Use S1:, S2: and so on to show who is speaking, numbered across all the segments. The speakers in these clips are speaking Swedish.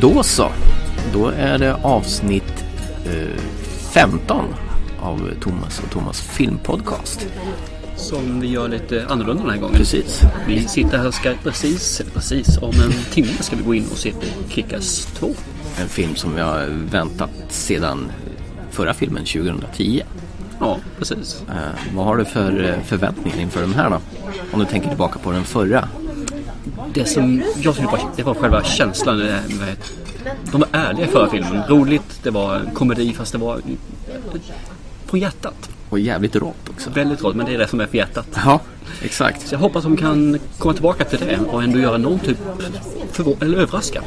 S1: Då så. Då är det avsnitt eh, 15 av Thomas och Thomas filmpodcast.
S2: Som vi gör lite annorlunda den här gången.
S1: Precis.
S2: Vi sitter här och ska precis, eller precis, om en timme ska vi gå in och se på Kick-Ass 2.
S1: En film som vi har väntat sedan förra filmen 2010.
S2: Ja, precis.
S1: Eh, vad har du för eh, förväntningar inför den här då? Om du tänker tillbaka på den förra.
S2: Det som jag tyckte var, det var själva känslan. Det här med, de var ärliga i förra filmen. Roligt, det var en komedi fast det var på hjärtat.
S1: Och jävligt rått också.
S2: Väldigt roligt, men det är det som är på hjärtat.
S1: Ja, exakt.
S2: Så jag hoppas de kan komma tillbaka till det och ändå göra någon typ förvå- eller överraska.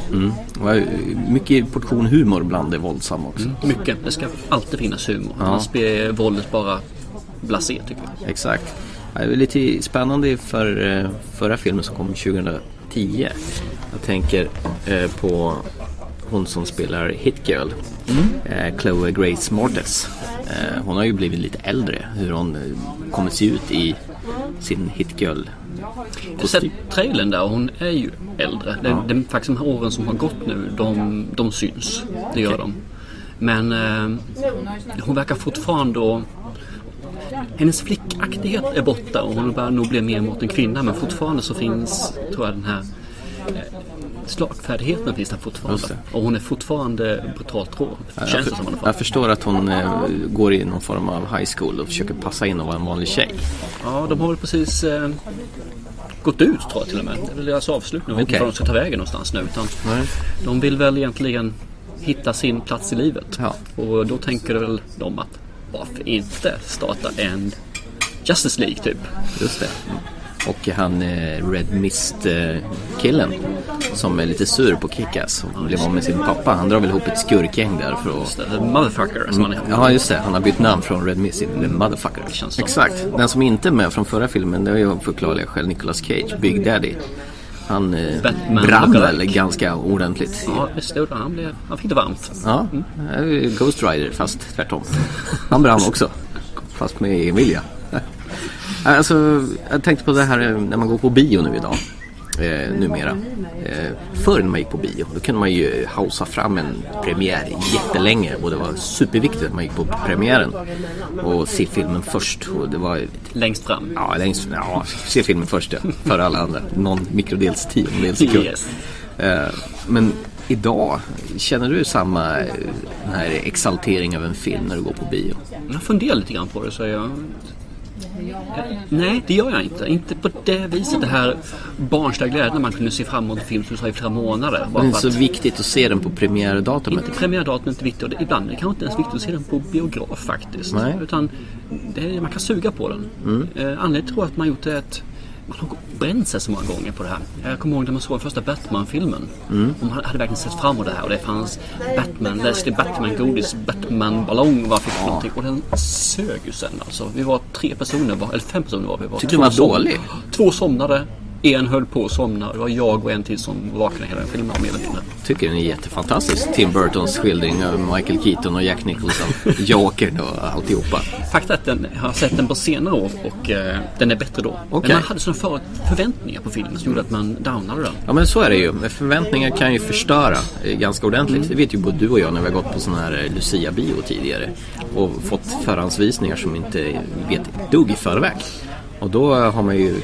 S1: Och, eh, mycket portion humor bland det våldsamma också.
S2: Mycket. Det ska alltid finnas humor. Annars blir våldet bara blasé tycker jag.
S1: Exakt. Ja, Det är lite spännande för eh, förra filmen som kom 2010. Jag tänker eh, på hon som spelar Hit Girl, eh, Chloe Grace Moretz. Eh, Hon har ju blivit lite äldre, hur hon eh, kommer se ut i sin Hit Girl.
S2: Jag har sett trailern där och hon är ju äldre. Det, det är faktiskt de här åren som har gått nu, de, de syns. Det gör de. Men eh, hon verkar fortfarande och, Hennes flickaktighet är borta och hon börjar nog bli mer mot en kvinna men fortfarande så finns, tror jag, den här eh, Slagfärdigheten finns där
S1: Just
S2: fortfarande.
S1: det.
S2: Och hon är fortfarande brutalt rå.
S1: Jag,
S2: Känns det som i alla
S1: för,
S2: fall.
S1: jag förstår att hon eh, går i någon form av high school och försöker passa in och vara en vanlig tjej.
S2: Ja, de har väl precis eh, gått ut tror jag till och med. Det är väl deras avslut nu. Jag vet
S1: Okej.
S2: inte var de ska ta vägen någonstans nu. Utan
S1: Nej.
S2: De vill väl egentligen hitta sin plats i livet.
S1: Ja.
S2: Och då tänker väl de att varför inte starta en Justice League typ.
S1: Just det. Och han eh, Red Mist-killen som är lite sur på Kickass och blev av med sin pappa. Han drar väl ihop ett skurkgäng där för att...
S2: The motherfucker som man är.
S1: Ja, just det. Han har bytt namn från Red Mist till The Motherfucker.
S2: Känns som.
S1: Exakt. Den som inte är med från förra filmen, det är ju av förklarliga skäl Nicolas Cage, Big Daddy. Han eh,
S2: Batman
S1: brann
S2: lookalike.
S1: väl ganska ordentligt. i-
S2: Ja, visst det gjorde han. Han blev- Han fick det varmt.
S1: Ja, det är ju Ghost Rider fast tvärtom. Han brann också. Fast med egen vilja. Alltså, jag tänkte på det här eh, när man går på bio nu idag. Eh, numera. Eh, förr när man gick på bio, då kunde man ju hausa fram en premiär jättelänge och det var superviktigt att man gick på premiären och se filmen först. Och det var
S2: Längst fram.
S1: Ja, längst, ja, se filmen först ja, före alla andra. Någon mikrodels tiondels sekund.
S2: Yes.
S1: Eh, Men idag, känner du samma eh, den här exaltering av en film när du går på bio?
S2: Jag funderar lite grann på det så jag... Nej, det gör jag inte. Inte på det viset. Det här barnsliga glädjen när man kunde se fram emot en film som sa i flera månader. Bara
S1: Det är
S2: för
S1: så
S2: att-
S1: viktigt att se den på premiärdatumet.
S2: Inte premiärdatumet är inte viktigt. Och det- Ibland är det kanske inte ens viktigt att se den på biograf faktiskt.
S1: Nej. Mm.
S2: Utan det är, man kan suga på den. Eh, anledningen tror jag att man gjort det är att man har bränt sig så många gånger på det här. Jag kommer ihåg när man såg den första Batman-filmen.
S1: Mm.
S2: Och man hade verkligen sett fram emot det här. Och det fanns Batman, Leslie Batman-godis, Batman-ballong. Vad fick för någonting. Och den sög ju sen alltså. Vi var tre personer, var, eller fem personer var vi. Var
S1: Tyckte du
S2: Två
S1: den var
S2: som-
S1: dålig?
S2: Två somnade. En höll på att somna. Det var jag och en till som vaknade hela den filmen mer eller mindre.
S1: tycker den är jättefantastisk. Tim Burtons skildring av Michael Keaton och Jack Nicholson. Jokern och alltihopa.
S2: Fakta är att den, jag har sett den på senare år och eh, den är bättre då.
S1: Okej.
S2: Men man hade sådana för, förväntningar på filmen som gjorde att man downade den.
S1: Ja men så är det ju. Förväntningar kan ju förstöra eh, ganska ordentligt. Det vet ju både du och jag när vi har gått på sån här eh, Lucia-bio tidigare. Och fått förhandsvisningar som inte vet ett dugg i förväg. Och då har man ju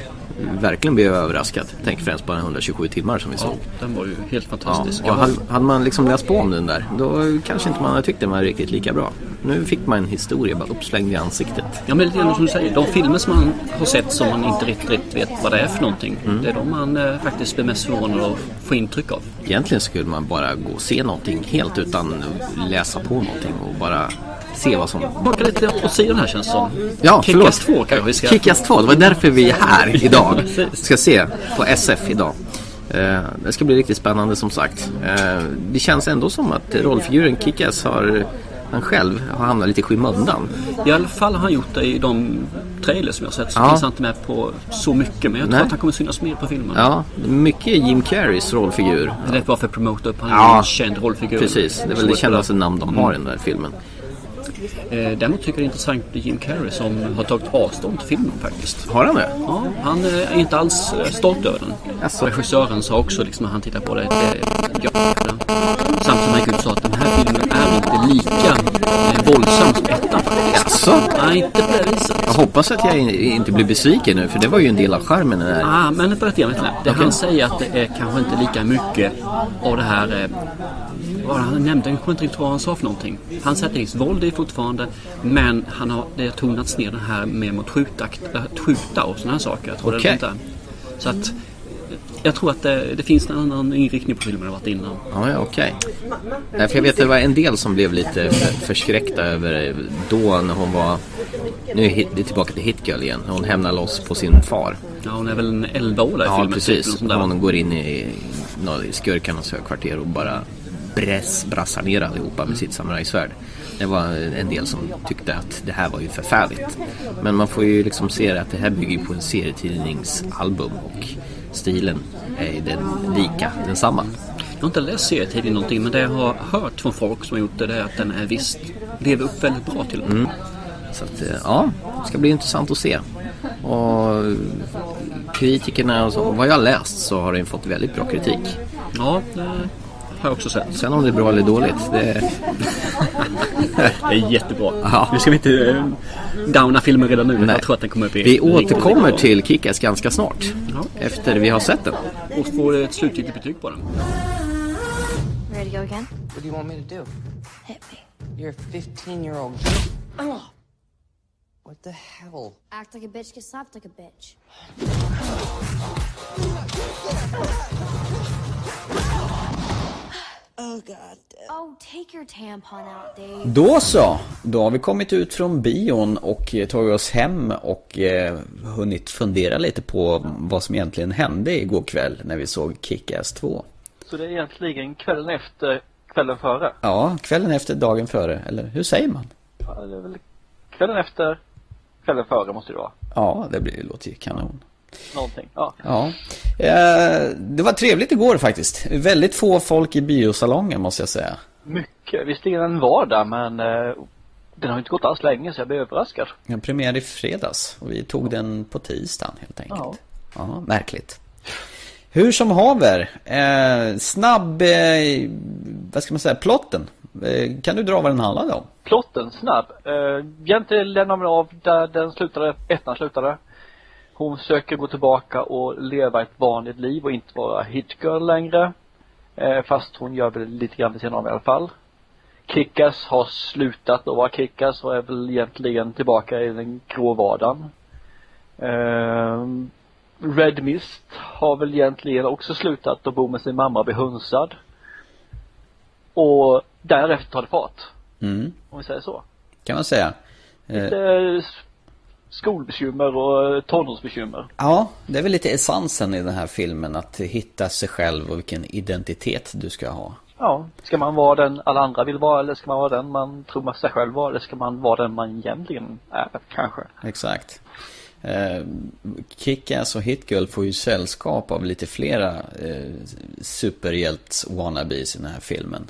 S1: verkligen blivit överraskad. Tänk främst på den 127 timmar som vi såg.
S2: Den var ju helt
S1: Ja,
S2: fantastisk.
S1: och
S2: Jag var-
S1: hade, hade man liksom läst på om den där, då kanske inte man hade tyckt den var riktigt lika bra. Nu fick man en historia bara uppslängd i ansiktet.
S2: Ja men lite grann som du säger, de filmer som man har sett som man inte riktigt, riktigt vet vad det är för någonting.
S1: Mm.
S2: Det är de man eh, faktiskt blir mest förvånad och får intryck av.
S1: Egentligen skulle man bara gå och se någonting helt utan att läsa på någonting och bara se vad som
S2: Baka lite åt sidan här känns det som.
S1: Ja, förlåt.
S2: Kickass 2 kanske vi ska...
S1: Kickass 2, det var därför vi är här idag.
S2: Precis.
S1: Ska se på SF idag. Eh, Det ska bli riktigt spännande som sagt. Eh, Det känns ändå som att rollfiguren Kickass har, han själv har hamnat lite i skymundan.
S2: I alla fall har han gjort det i de trailers som jag har sett. Så
S1: Ja.
S2: finns han inte med på så mycket. Men jag tror
S1: Nej.
S2: att han kommer synas mer på filmen.
S1: Ja, mycket Jim Carreys rollfigur.
S2: Det är bara för att promota upp. Han är
S1: Ja.
S2: en känd rollfigur.
S1: Precis, det Mm. är
S2: Så
S1: väl det
S2: spelar-
S1: kändaste namn de har i den där filmen.
S2: Eh, däremot tycker jag det är intressant med Jim Carrey som har tagit avstånd till filmen faktiskt.
S3: Har han det?
S2: Ja, han eh, är inte alls eh, stolt över den.
S3: Jaså.
S2: Regissören sa också liksom, när han tittade på det, det ja, Samtidigt som han gick ut och sa att den här filmen är inte lika eh, våldsam som ettan faktiskt.
S3: Jaså?
S2: Nej, inte på det viset.
S3: Alltså, Jag hoppas att jag in- inte blir besviken nu, för det var ju en del av charmen. den här.
S2: Ah, men inte på det temat. nej. Det han säger att det är kanske inte lika mycket av det här... Eh, vad var det han nämnde, jag kommer inte riktigt ihåg vad han sa för någonting. Han säger att det finns våld i fortfarande, men han har, det har tonats ner den här med mot skjutakt, eh, att skjuta och sådana här saker. Jag tror
S3: Okej.
S2: det är Så att... eh, Jag tror att eh, det, det finns en annan inriktning på filmen än vad det varit innan.
S3: Ja, ja, okej. Nej, för jag vet att det var en del som blev lite för- förskräckta över eh, då när hon var... Nu är hit, det är tillbaka till Hit Girl igen. när Hon hämnar loss på sin far.
S2: Ja, hon är väl en 11 år där i
S3: Ja,
S2: filmen. Typ,
S3: precis.
S2: något sånt där.
S3: Hon går in i, nå- i skurkarnas högkvarter och bara bräs, brassar ner allihopa
S2: Mm.
S3: med sitt samurajsvärd. Det var en del som tyckte att det här var ju förfärligt. Men man får ju liksom se det att det här bygger ju på en serietidningsalbum och stilen är den lika, densamma.
S2: Jag har inte läst serietidningen någonting men det jag har hört från folk som har gjort det, det är att den är visst lever upp väldigt bra till
S3: Mm.
S2: och med.
S3: Så att, eh, ja, det ska bli intressant att se. Och eh, kritikerna och så, vad jag har läst så har den fått väldigt bra kritik.
S2: Ja, det har jag också sett.
S3: Sen om det är bra eller dåligt, det,
S2: Det är jättebra.
S3: Ja.
S2: Nu ska vi inte eh, downa filmen redan nu.
S3: Nej.
S2: Jag tror att den kommer upp i...
S3: Vi återkommer till Kickass ganska snart.
S2: Ja.
S3: Efter vi har sett den.
S2: Och får ett slutgiltigt betyg på den.
S4: Ready to go again?
S5: What do you want me to do?
S4: Hit me.
S5: You're a 15 year old. What the hell?
S4: Act like a bitch, get slapped like a bitch. Oh, God. Oh, take your tampon out, Dave.
S1: Då så, då har vi kommit ut från bion och eh, tagit oss hem och eh, hunnit fundera lite på vad som egentligen hände igår kväll när vi såg Kick-Ass 2.
S6: Så det är egentligen kvällen efter kvällen före.
S1: Ja, kvällen efter, dagen före, eller hur säger man?
S6: Ja, det är väl kvällen efter kvällen före måste det vara.
S1: Ja, det blir, låter ju kanon.
S6: Någonting. Ja.
S1: Ja, eh, det var trevligt igår faktiskt. Väldigt få folk i biosalongen måste jag säga.
S6: Mycket. Visserligen en vardag men eh, den har ju inte gått alls länge så jag blev överraskad.
S1: Den premiär i fredags och vi tog den på tisdagen helt
S6: Ja.
S1: enkelt. Ja, märkligt. Hur som haver, eh, snabb, eh, vad ska man säga, plotten. Eh, kan du dra vad den handlade om?
S6: Plotten, snabb. Eh, egentligen lämnar man av där den slutade, ettan slutade. Hon försöker gå tillbaka och leva ett vanligt liv och inte vara hitgirl längre. Eh, fast hon gör väl lite grann vid sidan om i alla fall. Kickas har slutat att vara Kickas och är väl egentligen tillbaka i den grå vardagen. Ehm, Red Mist har väl egentligen också slutat att bo med sin mamma och bli hunsad. Och därefter tar det fart.
S1: Mm,
S6: Om vi säger så.
S1: kan man säga. Eh,
S6: Eh, s- skolbekymmer och eh, tonårsbekymmer.
S1: ja, det är väl lite essensen i den här filmen, att hitta sig själv och vilken identitet du ska ha.
S6: Ja. Ska man vara den alla andra vill vara eller ska man vara den man tror man sig själv vara eller ska man vara den man egentligen är kanske?
S1: Exakt. Eh, Kick-Ass och Hit-Girl får ju sällskap av lite flera eh, superhjälts-wannabes i den här filmen.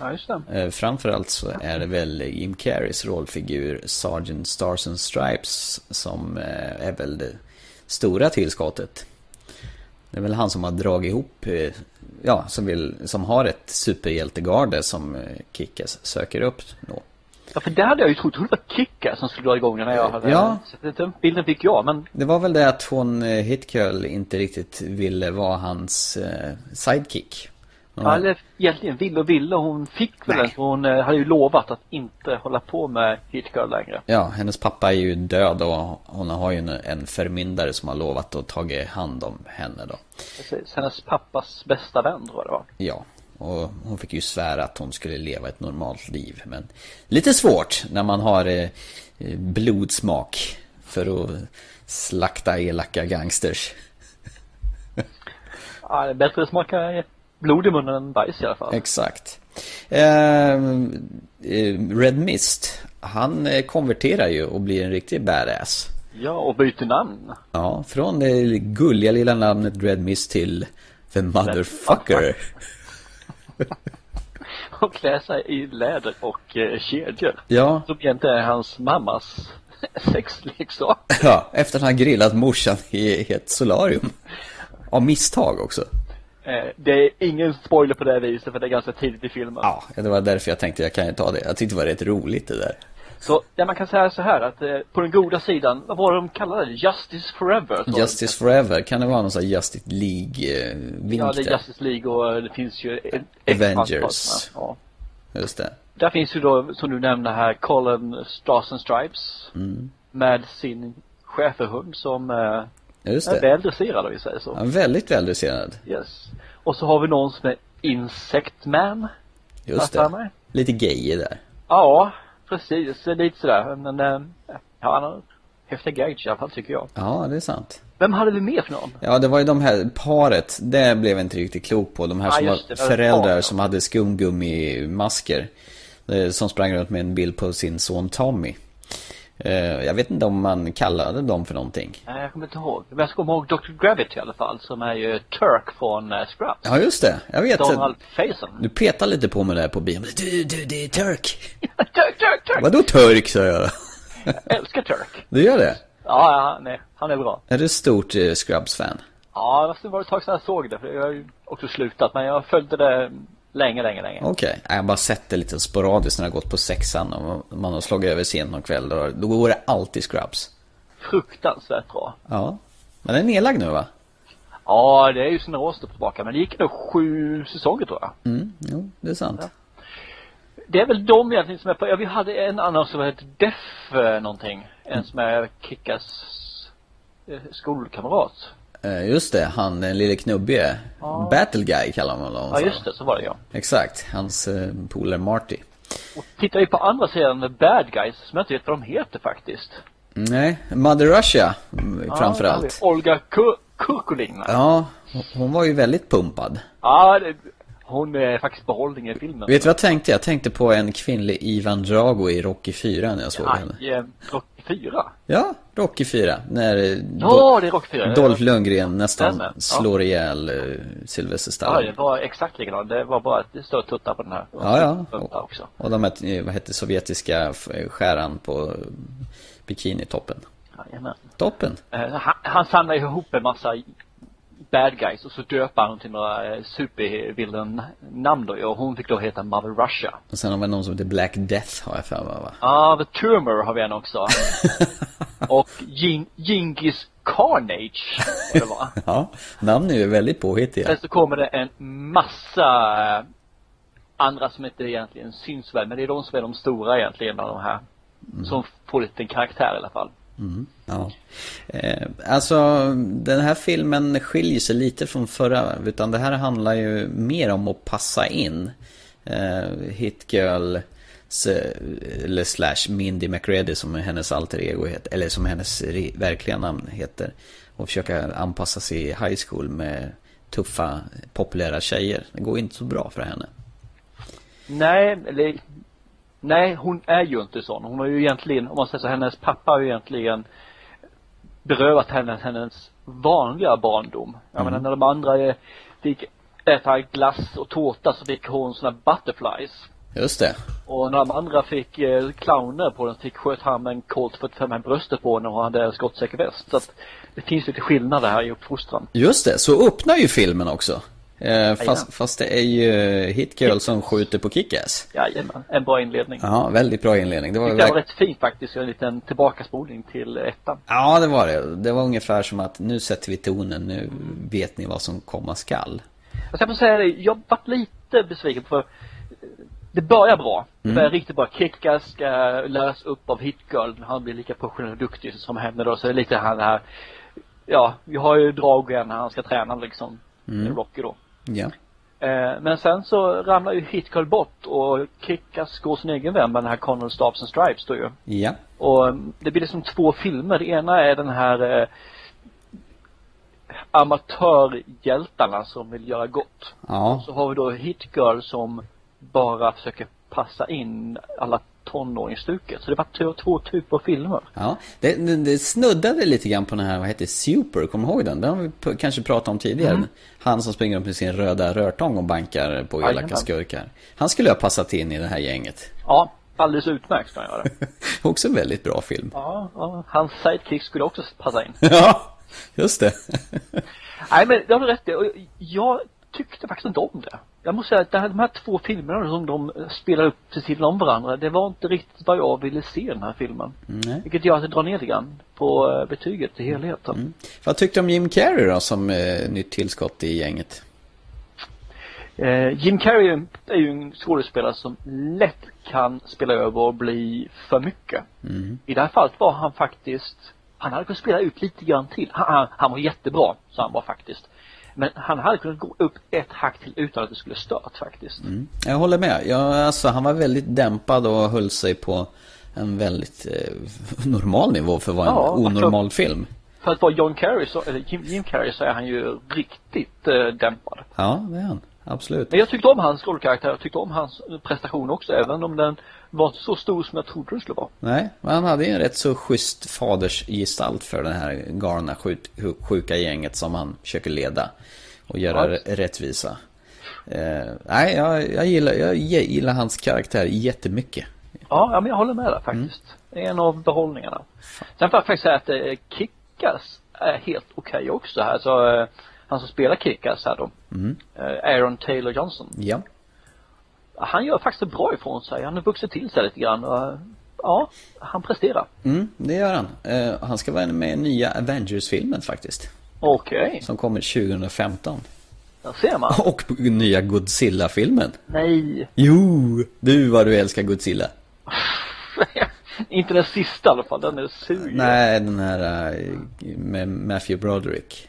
S6: Ja, just det.
S1: Eh, Framförallt så är det väl Jim Carreys rollfigur Sergeant Stars and Stripes som eh, är väl det stora tillskottet. Det är väl han som har dragit ihop, eh, ja, som, vill, som har ett superhjältegarde som eh, Kickass söker upp då.
S6: Ja, för det hade jag ju trott. Jag trodde det var Kicka som skulle dra igång den när jag hade
S1: Ja.
S6: sett den. Bilden fick jag, men
S1: Det var väl det att hon, eh, Hitgirl, inte riktigt ville vara hans eh, sidekick. Hon
S6: ja. eller egentligen ville och ville. Hon fick väl
S1: Nej.
S6: den. för Hon eh, hade ju lovat att inte hålla på med Hitgirl längre.
S1: Ja, hennes pappa är ju död och hon har ju en, en förmyndare som har lovat att ta hand om henne då.
S6: Precis. Hennes pappas bästa vän tror jag det var.
S1: Ja, och hon fick ju svära att hon skulle leva ett normalt liv. Men lite svårt när man har eh, eh, blodsmak för att slakta elaka gangsters.
S6: Ja, det är bättre att smaka blod i munnen än bajs i alla fall.
S1: Exakt. Ehm, Eh, Red Mist, han eh, konverterar ju och blir en riktig badass.
S6: Ja, och byter namn.
S1: Ja, från det gulliga lilla namnet Red Mist till The Motherfucker.
S6: och klär sig i läder och eh, kedjor.
S7: Ja,
S6: Som egentligen är hans mammas sexleksak.
S7: ja, efter att han grillat morsan i ett solarium. Av misstag också.
S6: Eh, det är ingen spoiler på det här viset för det är ganska tidigt i filmen.
S7: Ja, det var därför jag tänkte jag kan ju ta det. Jag tyckte det var rätt roligt det där.
S6: Så, ja, man kan säga så här att eh, på den goda sidan, vad var det de kallade det? Justice Forever? tror jag.
S7: Justice Forever, kan det vara någon sån här Justice League-vink
S6: Ja, det är
S7: där?
S6: Justice League och eh, det finns ju ett-
S7: Avengers.
S6: Ja.
S7: Just det.
S6: Där finns ju då, som du nämnde här, Colin Stars and Stripes.
S7: Mm.
S6: Med sin schäferhund som eh,
S7: Just
S6: är
S7: det.
S6: väl dresserad om vi säger så.
S7: Ja, väldigt väldresserad.
S6: Yes. Och så har vi någon som är Insect Man.
S7: Just
S6: Fattar
S7: det.
S6: mig?
S7: Lite gay där.
S6: Ja, precis. Det är Lite sådär. Men, eh, ja, han har häftiga gadgets i alla fall tycker jag.
S7: Ja, det är sant.
S6: Vem hade vi mer för någon?
S7: Ja, det var ju de här, paret, det blev jag inte riktigt klok på. De här
S6: Ja,
S7: som
S6: just
S7: var
S6: det, det var
S7: föräldrar
S6: ett par,
S7: som hade skumgummimasker. eh, Som sprang runt med en bild på sin son Tommy. Eh, Jag vet inte om man kallade dem för någonting.
S6: Nej, Eh, jag kommer inte ihåg. Men jag kommer ihåg Dr. Gravity i alla fall, som är ju Turk från eh, Scrubs.
S7: Ja, just det. Jag vet.
S6: Donald
S7: att
S6: Faison.
S7: Du petar lite på mig där på bion. Du, du, det är turk.
S6: Turk, Turk, Turk!
S7: Vadå turk, sa jag.
S6: Jag älskar Turk.
S7: Du gör det?
S6: Ja, ja, nej, han är bra.
S7: Är du stort eh, Scrubs-fan?
S6: Ja, det måste vara ett tag sedan jag såg det, för jag har ju också slutat, men jag följde det länge, länge, länge.
S7: Okej. Nej, Jag har bara sett det lite sporadiskt när jag har gått på sexan och man har slagit över sent någon kväll. Då, då går det alltid Scrubs.
S6: Fruktansvärt bra.
S7: Ja. Men den är nedlagd nu, va?
S6: Ja, det är ju sina år sedan tillbaka, men det gick nog sju säsonger tror jag.
S7: Mm, jo, det är sant.
S6: Det är väl de egentligen som är på, ja vi hade en annan som hette Def eh, någonting. En som är Kickas eh, skolkamrat.
S7: Eh, Just det, han den lille knubbige. Battle Guy kallar man honom.
S6: Ja just det, så var det ja.
S7: Exakt, hans eh, polare Marty.
S6: Och tittar vi på andra sidan, The Bad Guys, som jag inte vet vad de heter faktiskt.
S7: Mm, Nej, Mother Russia mm,
S6: Ja, där
S7: framförallt.
S6: har vi Olga Ku- Kurkulin. Ja,
S7: Ja, hon var ju väldigt pumpad.
S6: det, hon är faktiskt behållning i filmen.
S7: Vet du vad jag tänkte? Jag tänkte på en kvinnlig Ivan Drago i Rocky 4 när jag såg henne.
S6: Aj, eh, Rocky 4.
S7: Ja, Rocky 4. När eh,
S6: Ja,
S7: Dol-
S6: det är Rocky 4.
S7: Dolph Lundgren nästan
S6: Stämmer, ja.
S7: slår ihjäl eh, Sylvester
S6: Ja, det
S7: Stallone.
S6: var exakt likadant. Det var bara att det står tuttar på den här.
S7: Ja, ja.
S6: Tuttar också.
S7: Och de här, eh, vad hette sovjetiska f- skäran på eh, bikinitoppen.
S6: Jajamän.
S7: Toppen.
S6: Eh, han, han samlar ihop en massa bad guys och så döper han till några eh, supervillain-namn då och hon fick då heta Mother Russia.
S7: Och sen har vi någon som heter Black Death har jag för mig va?
S6: Ah, The Tumor har vi en också. och Jing- Gingis Carnage, vad det var.
S7: Ja, namn är ju väldigt påhittiga.
S6: Sen så kommer det en massa eh, andra som inte egentligen syns väl, men det är de som är de stora egentligen bland de här. Som får lite karaktär i alla fall.
S7: Ja. Eh, alltså, den här filmen skiljer sig lite från förra. Utan det här handlar ju mer om att passa in. Eh, Hit Girl, s- eller slash Mindy McReady som är hennes alter ego heter. Eller som hennes re- verkliga namn heter. Och försöka anpassa sig i high school med tuffa, populära tjejer. Det går inte så bra för henne.
S6: Nej, eller Nej, hon är ju inte sån. Hon har ju egentligen, om man säger så, hennes pappa har ju egentligen berövat henne hennes vanliga barndom. Jag menar när de andra eh, fick äta glass och tårta så fick hon såna butterflies.
S7: Just det.
S6: Och när de andra fick eh, clowner på den fick sköt han med en Colt 45 i bröstet på henne och hade skottsäker väst. Så att det finns lite skillnader här i uppfostran.
S7: Just det, så öppnar ju filmen också. Eh, fast,
S6: Jajamän.
S7: fast det är ju Hit Girl som skjuter på Kick-Ass.
S6: Jajamän, en bra inledning.
S7: Ja, väldigt bra inledning. Det var,
S6: Det var
S7: verk...
S6: rätt fint faktiskt, en liten tillbakaspolning till ettan.
S7: Ja, det var det. Det var ungefär som att nu sätter vi tonen, nu vet ni vad som komma skall.
S6: Jag ska få säga det, jag vart lite besviken för eh, det börjar bra. Det börjar riktigt bra. Kickas ska läras upp av Hitgirl. Han blir lika professionell och duktig som henne då. Så det är lite han här, ja, vi har ju Drago när han ska träna liksom, Rocky då.
S7: Ja.
S6: Eh, men sen så ramlar ju Hitgirl bort och Kickas går sin egen väg med den här Connell Stars and Stripes då ju.
S7: Ja.
S6: Och eh, det blir liksom två filmer. Det ena är den här eh, amatörhjältarna som vill göra gott.
S7: Ja.
S6: Så har vi då Hitgirl som bara försöker passa in alla tonåringsstuket. Så det var två, två typer av filmer.
S7: Ja, det, det, det snuddade lite grann på den här, vad hette Super, kommer du ihåg den? Den har vi p- kanske pratat om tidigare.
S6: Mm.
S7: Han som springer upp med sin röda rörtång och bankar på elaka
S6: Jajamän.
S7: skurkar. Han skulle ha passat in i det här gänget.
S6: Ja, alldeles utmärkt kan jag göra.
S7: Också en väldigt bra film.
S6: Ja, ja. Hans sidekick skulle också passa in.
S7: Ja, just det.
S6: Nej men det har du rätt i. Och Jag tyckte faktiskt inte om det. Jag måste säga att det här- de här två filmerna som de spelar upp till sidan om varandra, det var inte riktigt vad jag ville se i den här filmen.
S7: Nej.
S6: Vilket gör att det drar ner lite grann på eh, betyget i helheten.
S7: Vad tyckte du om Jim Carrey då som eh, nytt tillskott i gänget?
S6: Eh, Jim Carrey är ju en- är ju en skådespelare som lätt kan spela över och bli för mycket. I det här fallet var han faktiskt, han hade kunnat spela ut lite grann till. Han, han, han var jättebra, så han var faktiskt. Men han hade kunnat gå upp ett hack till utan att det skulle stört faktiskt.
S7: Mm. Jag håller med. Jag, alltså, han var väldigt dämpad och höll sig på en väldigt eh, normal nivå för att vara en
S6: Ja, alltså-
S7: onormal film.
S6: För att vara John Carrey så, eller Jim, Jim Carrey så är han ju riktigt eh, dämpad.
S7: Ja, det är han. Absolut.
S6: Men jag tyckte om hans rollkaraktär, jag tyckte om hans prestation också, även om den var inte så stor som jag trodde den skulle vara.
S7: Nej, men han hade ju en rätt så schysst fadersgestalt för det här galna skjut- sjuka gänget som han försöker leda och göra
S6: Ja.
S7: r- rättvisa. Eh, nej, jag, jag, gillar, jag ge- gillar hans karaktär jättemycket.
S6: Ja, ja men jag håller med där faktiskt. Det är en av behållningarna. Sen får jag faktiskt säga att eh, Kickas är helt okej också här. Så, eh, han som spelar Kickas här då. Eh, Aaron Taylor Johnson.
S7: Ja.
S6: Han gör faktiskt bra ifrån sig. Han har vuxit till sig lite grann. Och, eh, ja, han presterar.
S7: Mm, det gör han. Eh, han ska vara med i nya Avengers-filmen faktiskt.
S6: Okej,
S7: Som kommer 2015.
S6: där ser man.
S7: Och på nya Godzilla-filmen.
S6: Nej,
S7: Jo, du vad du älskar Godzilla.
S6: inte den sista i alla fall. Den är sur.
S7: Nej, den här eh, med Matthew Broderick.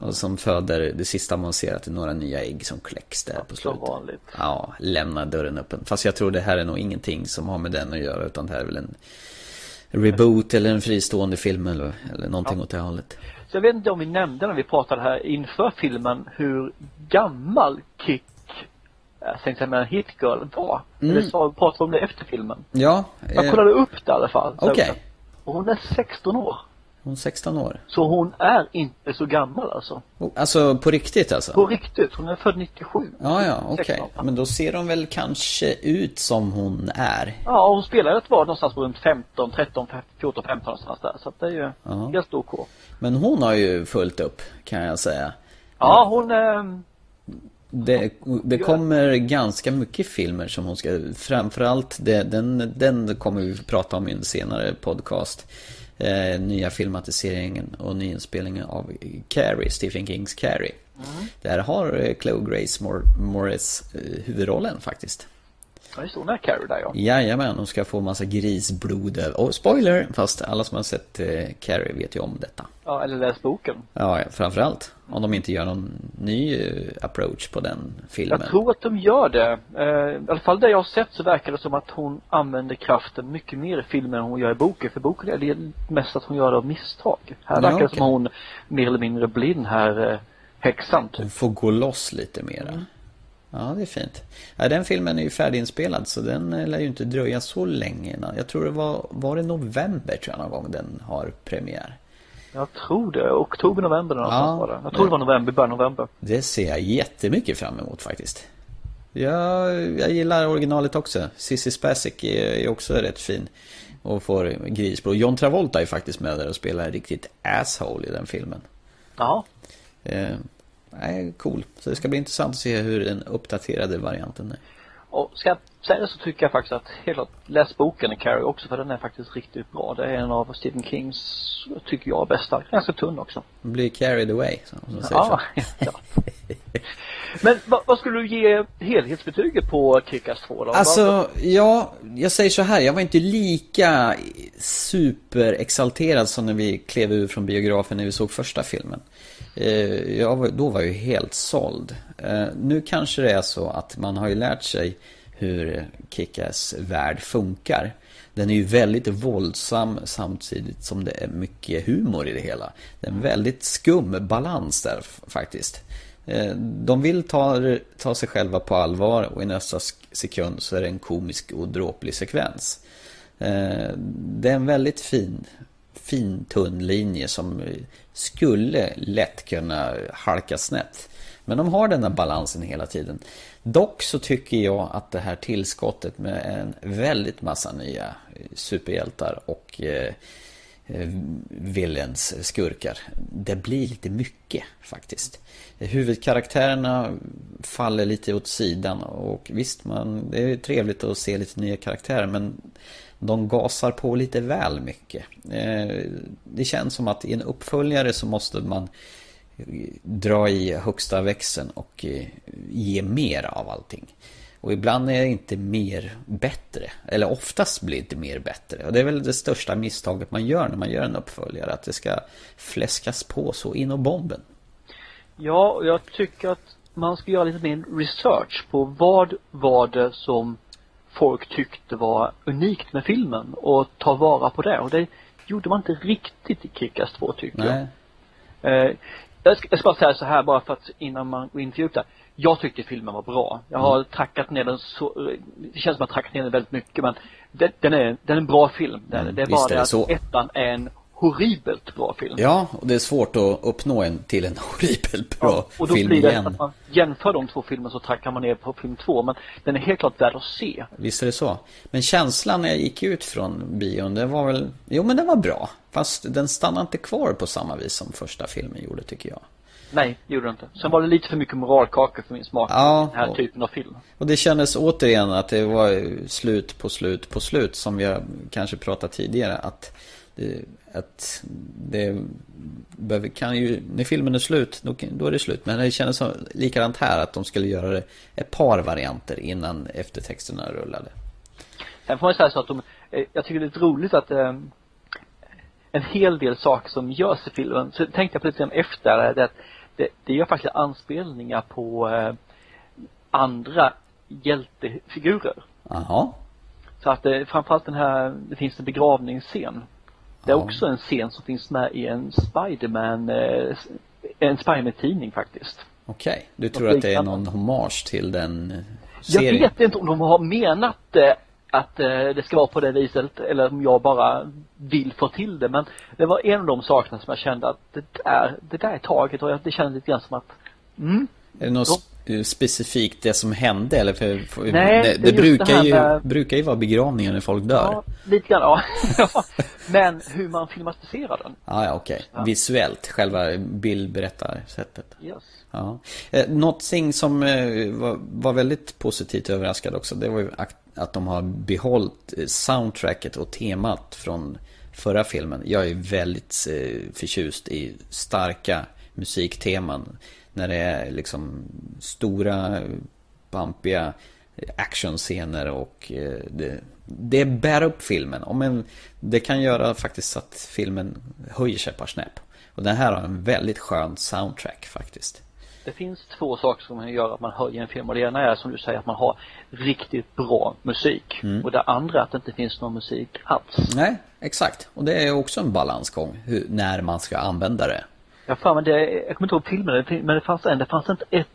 S7: Och som föder det sista man ser att det är några nya ägg som kläcks där
S6: Som
S7: på slutet.
S6: vanligt.
S7: Ja, lämna dörren öppen. Fast jag tror det här är nog ingenting som har med den att göra utan det här är väl en reboot eller en fristående film eller, eller någonting åt det hållet.
S6: Så jag vet inte om vi nämnde när vi pratade här inför filmen hur gammal Kick, eh, jag tänkte säga Hit Girl var. Eller så pratade vi om det efter filmen.
S7: Ja,
S6: Jag
S7: Mm. eh,
S6: kollade upp det i alla fall. Så-
S7: okej.
S6: Och hon är 16 år.
S7: Hon är 16 år.
S6: Så hon är inte så gammal alltså.
S7: Oh, Alltså på riktigt alltså?
S6: På riktigt, hon är född 97.
S7: Ja, ja, okej.
S6: 16.
S7: Men då ser hon väl kanske ut som hon är.
S6: Ja, hon spelar ett var någonstans runt 15, 13, 14, 15 någonstans där. Så att det är ju
S7: Ja.
S6: ganska stor K.
S7: Men hon har ju fullt upp, kan jag säga.
S6: Ja, hon eh, är...
S7: Det, det kommer ganska mycket filmer som hon ska, framförallt det, den, den kommer vi prata om i en senare podcast. Eh, nya filmatiseringen och nyinspelningen av Carrie, Stephen Kings Carrie. Där har eh, Chloe Grace Mor- Moretz eh, huvudrollen faktiskt.
S6: Ja, just det, hon är Carrie där ja.
S7: Jajamän, hon ska få massa grisblod över. Och spoiler! Fast alla som har sett eh, Carrie vet ju om detta.
S6: ja. Eller läst boken.
S7: Ja, framförallt. Om de inte gör någon ny eh, approach på den filmen.
S6: Jag tror att de gör det. Eh, I alla fall det jag har sett så verkar det som att hon använder kraften mycket mer i filmen än hon gör i boken. För boken är det mest att hon gör det av misstag. Här
S7: Ja,
S6: verkar det
S7: okej.
S6: som att hon mer eller mindre blind här, eh, häxan typ.
S7: Hon får gå loss lite mera.
S6: Mm.
S7: Ja, det är fint. Ja, den filmen är ju färdiginspelad så den eh, lär ju inte dröja så länge innan. Jag tror det var, var det november tror jag någon gång den har premiär.
S6: Jag tror det. Oktober, november eller
S7: Ja,
S6: någonstans var det. Jag tror det var november, början av november.
S7: Det ser jag jättemycket fram emot faktiskt. Jag, jag gillar originalet också. Sissy Spacek är är också rätt fin. Och får grisblod. John Travolta är faktiskt med där och spelar riktigt asshole i den filmen.
S6: Ja.
S7: Eh, nej, cool. Så det ska bli intressant att se hur den uppdaterade varianten är.
S6: Och ska jag säga det så tycker jag faktiskt att helt klart, läs boken i Carrie också för den är faktiskt riktigt bra. Det är en av Stephen Kings, tycker jag, bästa. Ganska tunn också.
S7: Den blir carried away, som de säger
S6: Ja,
S7: så.
S6: ja. Men vad, vad skulle du ge helhetsbetyget på Kick-Ass 2 då? Vad-
S7: Alltså, ja, jag säger så här. Jag var inte lika superexalterad som när vi klev ur från biografen när vi såg första filmen. Eh, Jag var, då var jag ju helt såld. Eh, Nu kanske det är så att man har ju lärt sig hur Kickass värld funkar. Den är ju väldigt våldsam samtidigt som det är mycket humor i det hela. Det är en väldigt skum balans där f- faktiskt. Eh, De vill ta, ta sig själva på allvar och i nästa sk- sekund så är det en komisk och dråplig sekvens. Eh, Det är en väldigt fin, fin tunn linje som eh, skulle lätt kunna halka snett. Men de har den här balansen hela tiden. Dock så tycker jag att det här tillskottet med en väldigt massa nya eh, superhjältar och eh, eh, villains, eh, skurkar. Det blir lite mycket faktiskt. Huvudkaraktärerna faller lite åt sidan och visst, man, det är trevligt att se lite nya karaktärer men de gasar på lite väl mycket. Eh, Det känns som att i en uppföljare så måste man dra i högsta växeln och eh, ge mer av allting. Och ibland är inte mer bättre. Eller oftast blir inte mer bättre. Och det är väl det största misstaget man gör när man gör en uppföljare. Att det ska fläskas på så in och bomben.
S6: Ja, och jag tycker att man ska göra lite mer research på vad var det som folk tyckte var unikt med filmen och ta vara på det. Och det gjorde man inte riktigt i Kick-Ass 2 tycker jag.
S7: Nej.
S6: Eh, jag, ska, jag ska bara säga så här bara för att innan man går in för djupt där. Jag tyckte filmen var bra. Jag har
S7: Mm.
S6: trackat ner den så, eh, det känns som att jag har trackat ner den väldigt mycket men den, den är, den är en bra film. Den,
S7: Mm,
S6: det är
S7: visst
S6: bara
S7: är det
S6: det att
S7: så.
S6: ettan är en horribelt bra film.
S7: Ja, och det är svårt att uppnå en till en horribelt bra
S6: och då
S7: film
S6: blir det
S7: igen.
S6: att man jämför de två filmerna så trackar man ner på film två men den är helt klart värd att se.
S7: Visst är det så. Men känslan när jag gick ut från bion, det var väl... Jo, men den var bra. Fast den stannade inte kvar på samma vis som första filmen gjorde, tycker jag.
S6: Nej, det gjorde det inte. Sen var det lite för mycket moralkaka för min smak.
S7: Ja,
S6: den här
S7: och-
S6: typen av film.
S7: Och det kändes återigen att det var slut på slut på slut som vi har kanske pratat tidigare att det, att det behöver, kan ju, när filmen är slut då, kan- då är det slut. Men det kändes som, likadant här att de skulle göra det ett par varianter innan eftertexterna rullade.
S6: Sen får man ju säga så att de, eh, jag tycker det är lite roligt att eh, en hel del saker som görs i filmen, så tänkte jag på lite grann efter, det, att det, det gör faktiskt anspelningar på eh, andra hjältefigurer.
S7: Jaha,
S6: Så att eh, framförallt den här, det finns en begravningsscen. Det är
S7: Ja.
S6: också en scen som finns med i en Spiderman, eh, s- en Spiderman-tidning faktiskt.
S7: okej. Du tror
S6: Något
S7: att det är
S6: liknande.
S7: någon hommage till den
S6: Jag
S7: serien?
S6: vet inte om de har menat eh, att eh, det ska vara på det viset eller om jag bara vill få till det men det var en av de sakerna som jag kände att det där, det där är taget och jag- det kändes lite grann som att
S7: Är det något sp- specifikt det som hände? Eller för,
S6: Nej,
S7: för,
S6: det
S7: det
S6: är
S7: det
S6: just det
S7: brukar,
S6: här
S7: ju,
S6: med-
S7: brukar ju vara begravningar när folk dör.
S6: ja, lite grann ja. ja. Men hur man filmatiserar den.
S7: Ah, ja, okej. Visuellt, själva bildberättarsättet.
S6: Yes.
S7: Ja. Eh, någonting som eh, var, var väldigt positivt överraskad också, det var ju att, att de har behållit eh, soundtracket och temat från förra filmen. Jag är väldigt eh, förtjust i starka musikteman. När det är liksom stora, eh, pampiga actionscener och eh, det, det bär upp filmen. Om en, det kan göra faktiskt att filmen höjer sig ett par snäpp. Och den här har en väldigt skön soundtrack faktiskt.
S6: Det finns två saker som gör att man höjer en film och det ena är som du säger att man har riktigt bra musik och det andra att det inte finns någon musik alls.
S7: Nej, exakt. Och det är också en balansgång hur, när man ska använda det.
S6: Jag fan, men det, jag kommer inte ihåg filmen men det fanns en, det fanns inte ett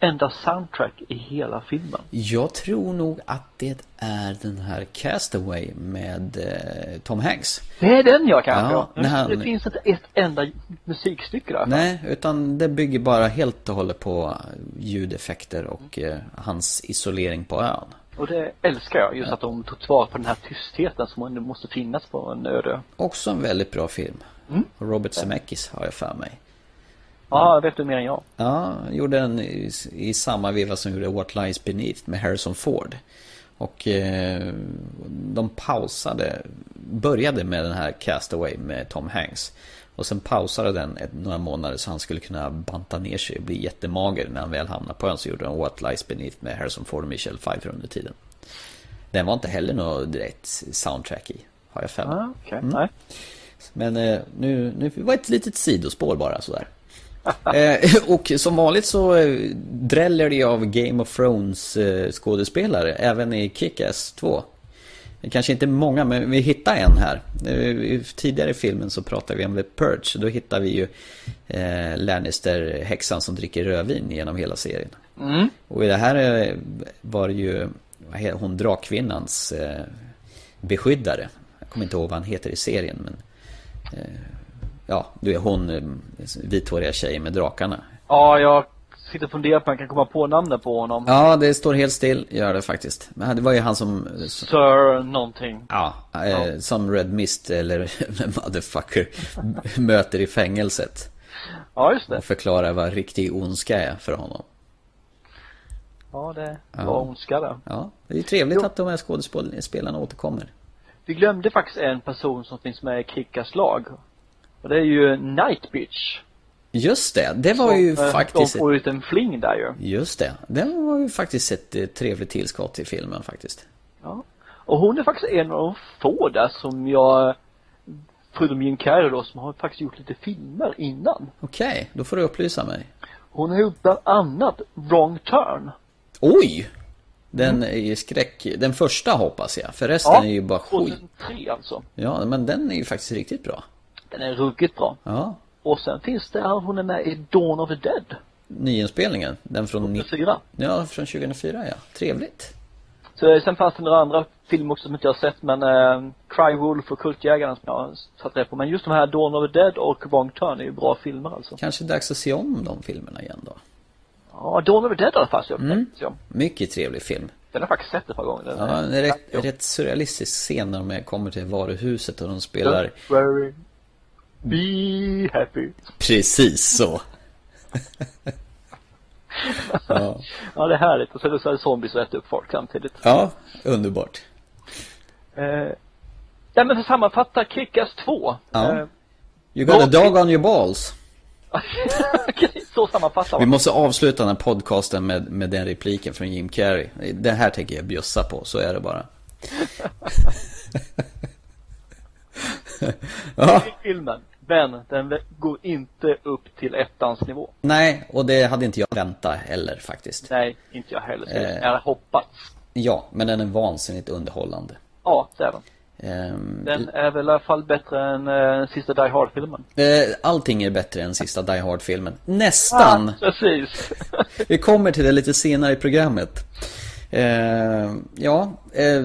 S6: enda soundtrack i hela filmen.
S7: Jag tror nog att det är den här Castaway med eh, Tom Hanks.
S6: Det är den jag kanske
S7: Ja,
S6: ja,
S7: men han-
S6: Det finns inte ett enda musikstycke där.
S7: Nej, utan det bygger bara helt och hållet på ljudeffekter och eh, hans isolering på ön.
S6: Och det älskar jag, just att de tog tillvara på den här tystheten som ändå måste finnas på en öde
S7: Också en väldigt bra film. Robert Zemeckis har jag för mig.
S6: Ja, jag vet du mer än jag.
S7: Ja, han gjorde den i, i samma veva som gjorde What Lies Beneath med Harrison Ford. Och eh, de pausade, började med den här Castaway med Tom Hanks. Och sen pausade den ett, några månader så han skulle kunna banta ner sig och bli jättemager när han väl hamnade på ön. Så gjorde de What Lies Beneath med Harrison Ford och Michelle Pfeiffer under tiden. Den var inte heller något direkt soundtrack i, har jag för mig.
S6: Ja, okej. Nej.
S7: Men eh, nu, nu var det ett litet sidospår bara sådär. Eh, och som vanligt så eh, dräller det av Game of Thrones eh, skådespelare även i Kick-Ass 2. Det kanske inte är många, men vi hittar en här. Eh, Tidigare i filmen så pratade vi om The Purge. Då hittar vi ju eh, Lannister-häxan som dricker rödvin genom hela serien. Och i det här eh, var det ju vad he- hon drakkvinnans eh, beskyddare. Jag kommer inte ihåg vad han heter i serien, men... eh, Ja, du är hon, eh, vithåriga tjejen med drakarna.
S6: Ja, jag sitter och funderar på om jag kan komma på namnet på honom.
S7: Ja, det står helt still, gör det faktiskt. Men det var ju han som...
S6: Sir någonting.
S7: Ja, eh, som Red Mist eller Motherfucker möter i fängelset.
S6: Ja, just det.
S7: Och förklarar vad riktig ondska är för honom.
S6: Ja, det var ondska där.
S7: Ja, det är ju trevligt att de här skådespelarna återkommer.
S6: Vi glömde faktiskt en person som finns med i Krickas lag. Och det är ju Night Bitch.
S7: Just det, det var ju
S6: Som, eh,
S7: faktiskt...
S6: De får ut en fling där ju.
S7: Just det, det var ju faktiskt ett eh, trevligt tillskott till filmen faktiskt.
S6: Ja. Och hon är faktiskt en av de få där som jag, förutom Jim Carrey då, som har faktiskt gjort lite filmer innan.
S7: Okej, då får du upplysa mig.
S6: Hon har gjort bland annat Wrong Turn.
S7: Oj! Den är ju skräck... Den första hoppas jag, för resten
S6: Ja,
S7: är ju bara skit.
S6: 2003 alltså.
S7: Ja, men den är ju faktiskt riktigt bra.
S6: Den är ruggigt bra.
S7: Ja,
S6: Och sen finns det, hon är med i Dawn of the Dead.
S7: nyinspelningen. Den från, ni-
S6: 2004.
S7: ja, från 2004 ja. Trevligt.
S6: Så eh, sen fanns det några andra filmer också som inte jag har sett men eh, Cry Wolf och Kultjägarna som jag har satt rätt på. Men just de här Dawn of the Dead och Wrong Turn är ju bra filmer alltså.
S7: Kanske dags att se om de filmerna igen då.
S6: Ja, Dawn of the Dead har jag faktiskt upptäckt. Mm.
S7: Mycket trevlig film.
S6: Den har jag faktiskt sett ett par gånger. Den
S7: Ja,
S6: är-
S7: en rätt, rätt surrealistisk scen när de kommer till varuhuset och de spelar
S6: Don't worry. Be happy.
S7: precis så. ja.
S6: Ja, det är härligt. Och så är det så här zombies som äter upp folk samtidigt.
S7: ja, underbart.
S6: Eh, ja, men för att sammanfatta, Kickass 2.
S7: Ja.
S6: Eh,
S7: You got a
S6: Ja.
S7: dog on your balls.
S6: så sammanfattar
S7: Vi
S6: man.
S7: måste avsluta den här podcasten med, med den repliken från Jim Carrey. Den här tänker jag bjussa på, så är det bara. ja.
S6: I filmen. Men den vä- går inte upp till ettans nivå.
S7: Nej, och det hade inte jag väntat heller faktiskt.
S6: Nej, inte jag heller.
S7: Eh.
S6: Eh. Jag hade hoppats.
S7: Ja, men den är vansinnigt underhållande.
S6: Ja, det är den.
S7: Ehm,
S6: Den är väl i alla fall bättre än eh, sista Die Hard-filmen.
S7: eh, Allting är bättre än sista Die Hard-filmen. Nästan!
S6: Precis.
S7: Vi kommer till det lite senare i programmet. Eh, ja, eh,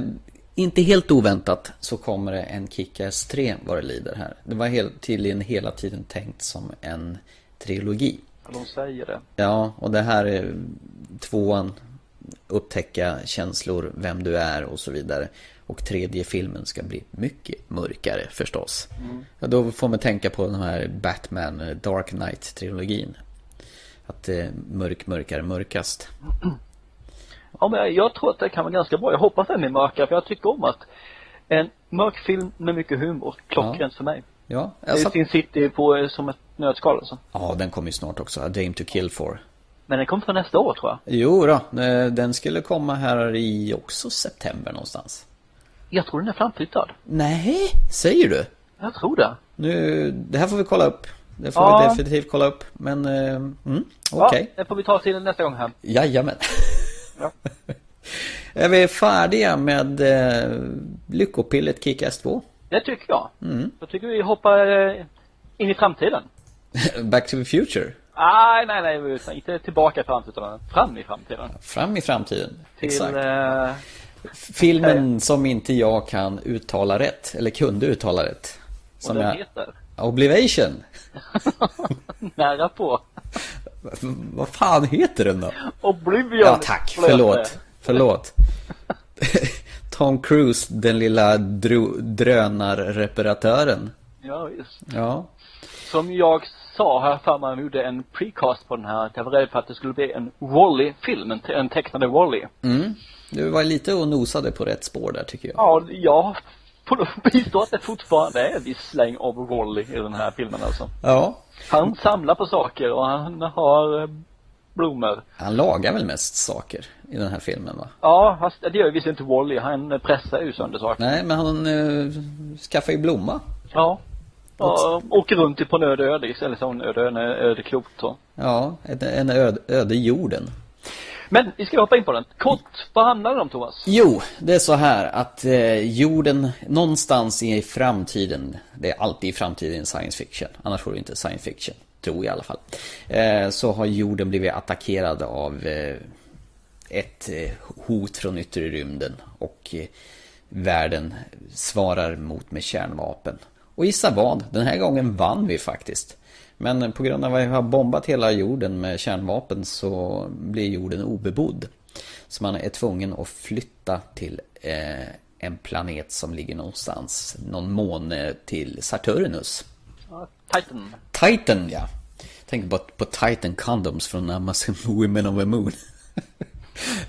S7: inte helt oväntat så kommer det en Kick-Ass 3 vad det lider här. Det var helt, tydligen hela tiden tänkt som en trilogi.
S6: De säger det.
S7: Ja, och det här är tvåan, upptäcka känslor, vem du är och så vidare. Och tredje filmen ska bli mycket mörkare förstås. Ja, då får man tänka på den här Batman eh, Dark Knight-trilogin. Att eh, mörk, mörkare, mörkast.
S6: Ja, men jag- jag tror att det kan vara ganska bra. Jag hoppas den är mörkare, för jag tycker om att en mörk film med mycket humor, klockrent för mig.
S7: Ja,
S6: Det
S7: jag
S6: är
S7: satt...
S6: Sin City på, eh, som ett nötskal alltså.
S7: ja, den kommer ju snart också. A Dame to Kill For.
S6: Men den kommer för nästa år tror jag.
S7: Jo då, eh, den skulle komma här i också september någonstans.
S6: Jag tror den är framflyttad.
S7: Nej, säger du?
S6: Jag tror det.
S7: Nu, det här får vi kolla upp. Det får
S6: Ja.
S7: vi definitivt kolla upp. Men, eh, mm, okej.
S6: Ja, det får vi ta till nästa gång här.
S7: Jajamän.
S6: Ja.
S7: Är vi färdiga med eh, Lyckopillet Kick-Ass 2?
S6: Det tycker jag. Mm. Jag tycker vi hoppar eh, in i framtiden.
S7: Back to the future?
S6: Nej, nej, nej, utan inte tillbaka i framtiden, utan fram i framtiden.
S7: Fram i framtiden?
S6: Till,
S7: Exakt.
S6: eh,
S7: Filmen som inte jag kan uttala rätt, eller kunde uttala rätt.
S6: vad
S7: Som
S6: den
S7: jag...
S6: heter.
S7: Oblivation?
S6: Nära på.
S7: Vad fan heter den då?
S6: Oblivion.
S7: Ja tack,
S6: Förlåt.
S7: förlåt. Förlåt. Tom Cruise, den lilla dro- drönarreparatören.
S6: Ja, visst.
S7: Ja,
S6: Som jag sa här för man gjorde en precast på den här, att jag var rädd för att det skulle bli en Wall-E-film, en, te- en tecknade Wall-E.
S7: du var lite och nosade på rätt spår där tycker jag.
S6: Ja, jag får nog bistå att det fortfarande är en viss släng av Wall-E i den här filmen alltså.
S7: Ja,
S6: Han samlar på saker och han har eh, blommor.
S7: han lagar väl mest saker i den här filmen va?
S6: Ja, fast det gör ju visst inte Wall-E, han pressar ju sönder saker.
S7: Nej, men han eh, skaffar ju blomma.
S6: Ja. Och åker runt på en öde ö, eller så en öde ö, en öde klot så.
S7: Ja, en, en öde, öde jorden.
S6: Men vi ska hoppa in på den. Kort, vad handlar det om Thomas?
S7: Jo, det är så här att eh, jorden någonstans i framtiden, det är alltid i framtiden i science fiction, annars vore det inte science fiction, tror jag i alla fall. Eh, så har jorden blivit attackerad av eh, ett eh, hot från yttre rymden och eh, världen svarar mot med kärnvapen. Och gissa vad, den här gången vann vi faktiskt. Men eh, på grund av att vi har bombat hela jorden med kärnvapen så blir jorden obebodd. Så man är tvungen att flytta till eh, en planet som ligger någonstans, någon måne till Saturnus.
S6: Ja, Titan.
S7: Titan ja! Tänk bara på Titan Condoms från Amazon Women of the Moon.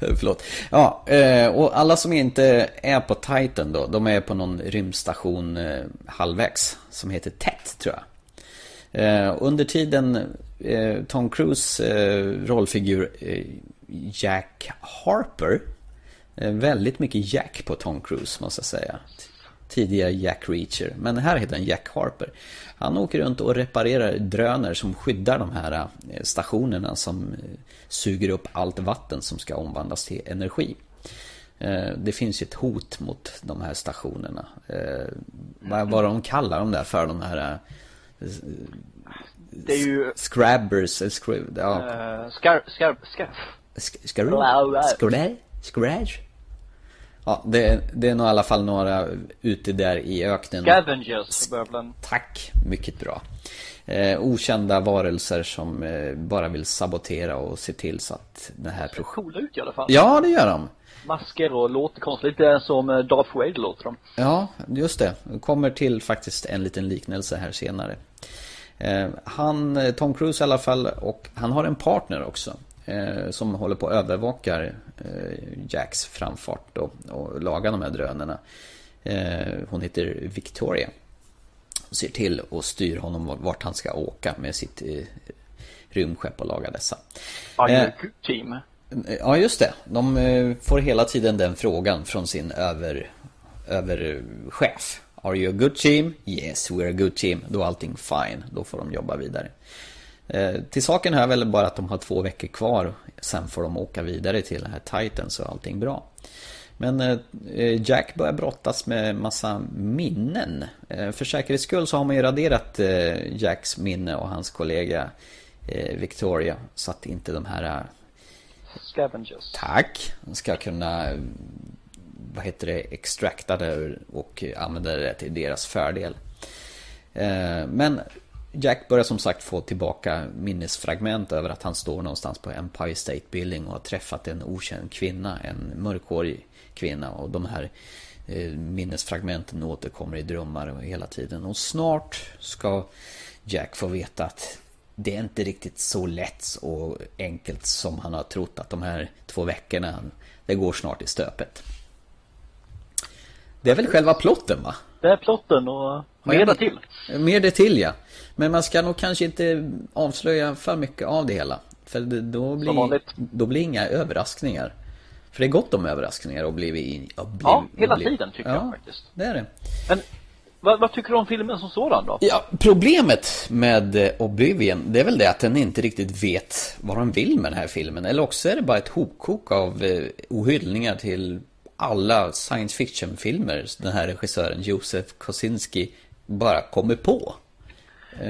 S7: Förlåt. Ja, eh, och alla som inte är på Titan då, de är på någon rymdstation eh, halvvägs som heter TET tror jag. Eh, under tiden eh, Tom Cruise eh, rollfigur eh, Jack Harper. Eh, väldigt mycket Jack på Tom Cruise måste jag säga. Tidigare Jack Reacher, men här heter han Jack Harper. Han åker runt och reparerar drönare som skyddar de här eh, stationerna som eh, suger upp allt vatten som ska omvandlas till energi. Eh, Det finns ju ett hot mot de här stationerna. Eh, Vad, vad de kallar de där för, de här eh,
S6: Det är ju
S7: Scrabbers, eller scrub, ja.
S6: eh, scar, scar, scar.
S7: Sk- Skaroo? Skrä? Scratch? Ja, det, är- det är nog i alla fall några ute där i öknen.
S6: Scavengers börjar väl den.
S7: Tack, mycket bra. Eh, okända varelser som eh, bara vill sabotera och se till så att det här
S6: Ser
S7: projektet...
S6: coola ut i alla fall.
S7: Ja, det gör de.
S6: Masker och låter konstigt. Lite som eh, Darth Vader låter de.
S7: Ja, just det. Vi kommer till faktiskt en liten liknelse här senare. Eh, Han, eh, Tom Cruise i alla fall, och han har en partner också. eh, Som håller på och övervakar eh, Jacks framfart och, och lagar de här drönarna. Eh, Hon heter Victoria. Hon ser till och styr honom vart han ska åka med sitt eh, rymdskepp och laga dessa.
S6: Ja,
S7: Eh.
S6: ju good team.
S7: Ja, just det. De eh, får hela tiden den frågan från sin över, överchef. Are you a good team? Yes, we're a good team. Då är allting fine. Då får de jobba vidare. Eh, Till saken hör väl bara att de har två veckor kvar. Sen får de åka vidare till den här Titan så är allting bra. Men eh, eh, Jack börjar brottas med massa minnen. Eh, För säkerhets skull så har man ju raderat eh, Jacks minne och hans kollega eh, Victoria. Så att inte de här eh,
S6: Scavengers.
S7: Tack. Man ska kunna, eh, vad heter det, extrakta det ur och eh, använda det till deras fördel. Eh, Men Jack börjar som sagt få tillbaka minnesfragment över att han står någonstans på Empire State Building och har träffat en okänd kvinna, en mörkhårig kvinna. Och de här eh, minnesfragmenten återkommer i drömmar och hela tiden. Och snart ska Jack få veta att det är inte riktigt så lätt och enkelt som han har trott att de här två veckorna, det går snart i stöpet. Det är väl själva plotten va?
S6: Det är plotten och
S7: jag-
S6: mera till.
S7: Mer det till ja. Men man ska nog kanske inte avslöja för mycket av det hela. För det- då blir,
S6: vanligt.
S7: då blir inga överraskningar. För det är gott om överraskningar och blir vi... Och blir,
S6: Ja, hela
S7: och blir-
S6: tiden tycker
S7: ja,
S6: jag faktiskt.
S7: det är det.
S6: Men vad, vad tycker du om filmen som sådan då?
S7: Ja, problemet med eh, Oblivion, det är väl det att den inte riktigt vet vad de vill med den här filmen. Eller också är det bara ett hopkok av eh, ohyllningar till alla science fiction-filmer den här regissören Josef Kosinski bara kommer på.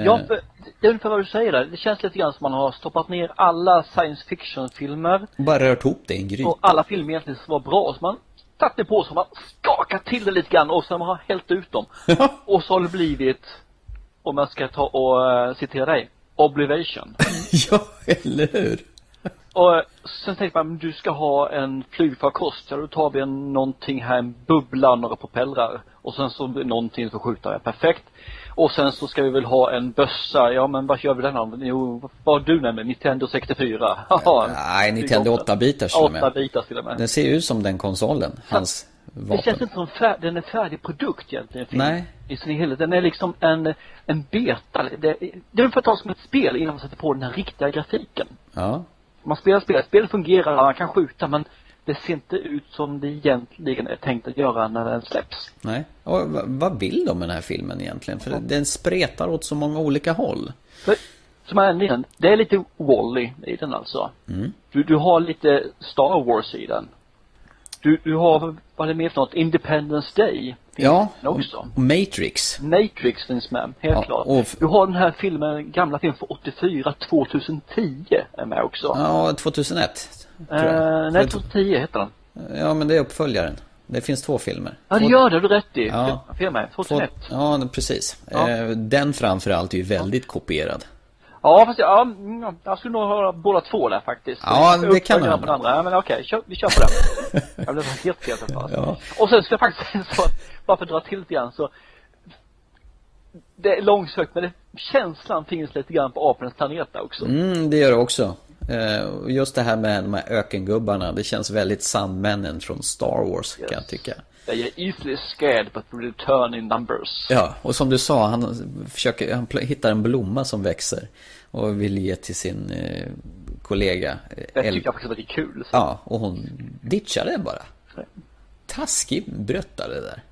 S6: Ja, för, det är ungefär vad du säger där. Det känns lite grann som man har stoppat ner alla science fiction-filmer
S7: Bara rört ihop det i en
S6: och
S7: gryta.
S6: alla filmer egentligen som var bra. Så man satt det på så man skakat till det lite grann och sen har man hällt ut dem. och så har det blivit, om jag ska ta och eh, citera dig, Oblivation.
S7: ja, eller hur?
S6: Och eh, sen tänkte man, du ska ha en flygfarkost, ja då tar vi en, någonting här, en bubbla, några propellrar. Och sen så blir någonting som skjuter, ja perfekt. Och sen så ska vi väl ha en bössa, ja men vad gör vi den av? Jo, vad har du nämligen, Nintendo 64. Haha.
S7: Nej, Nintendo 8-bitars till och med.
S6: 8 bitar till och med.
S7: Den ser ju ut som den konsolen, hans
S6: Det känns
S7: vapen.
S6: inte som fär, den är färdig produkt egentligen. film.
S7: Nej.
S6: I sin helhet. Den är liksom en, en beta. Det, det är för att ta som ett spel innan man sätter på den här riktiga grafiken.
S7: Ja.
S6: Man spelar spel, spel fungerar, man kan skjuta men det ser inte ut som det egentligen är tänkt att göra när den släpps.
S7: Nej. Och va- vad vill de med den här filmen egentligen? För den spretar åt så många olika håll.
S6: För Som är en liten, det är lite Wall-E i den alltså.
S7: Mm.
S6: Du, du har lite Star Wars i den. Du, du har, vad är det mer för något? Independence Day. finns
S7: Ja,
S6: den Också.
S7: och Matrix.
S6: Matrix finns med, helt
S7: Mm. Ja,
S6: klart.
S7: och f-
S6: Du har den här filmen, gamla filmen från 84, 2010 är med också.
S7: Ja, 2001. Tror jag.
S6: eh, nej, 2010 heter den.
S7: Ja, men det är uppföljaren. Det finns två filmer.
S6: Ja, det gör det, du har rätt i.
S7: Ja.
S6: Ja. Fel med,
S7: Två-
S6: 2001.
S7: Ja, men precis.
S6: Ja.
S7: Eh, Den framförallt är ju väldigt kopierad.
S6: Ja, fast jag, ja, mm, ja, jag skulle nog höra båda två där faktiskt.
S7: Ja, det kan man
S6: man.
S7: göra.
S6: Andra. Ja, men okej, kör, vi kör på den. jag blev helt fel på
S7: Ja.
S6: Och sen ska jag faktiskt säga så, bara för att dra till lite grann så. Det är långsökt, men det, känslan finns lite grann på apornas planet där också.
S7: Mm, det gör det också. Eh, och Just det här med de här ökengubbarna, det känns väldigt Sandmännen från Star Wars kan jag
S6: Yes.
S7: tycka.
S6: They are easily scared but return in numbers.
S7: Ja, och som du sa, han, försöker, han pl- hittar en blomma som växer och vill ge till sin eh, kollega. eh,
S6: Det
S7: El-
S6: tycker jag faktiskt var lite kul. Så.
S7: Ja, och hon ditchar den bara. Taskig bröttare där.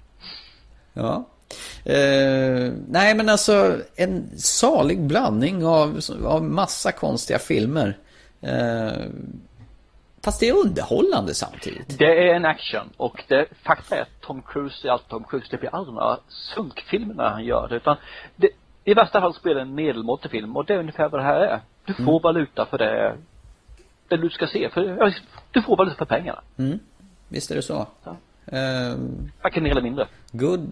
S7: Ja. Eh, nej men alltså en salig blandning av, av massa konstiga filmer. Eh, fast det är underhållande samtidigt.
S6: Det är en action och det, fakta är att Tom Cruise är alltid Tom Cruise. Det blir aldrig några sunkfilmer när han gör det utan det, i värsta fall spelar en medelmåttig film och det är ungefär vad det här är. Du
S7: Mm.
S6: får valuta för det, det du ska se. För, ja, du får valuta för pengarna.
S7: Visst är det så?
S6: Ja.
S7: Eh,
S6: Varken mer eller mindre.
S7: good,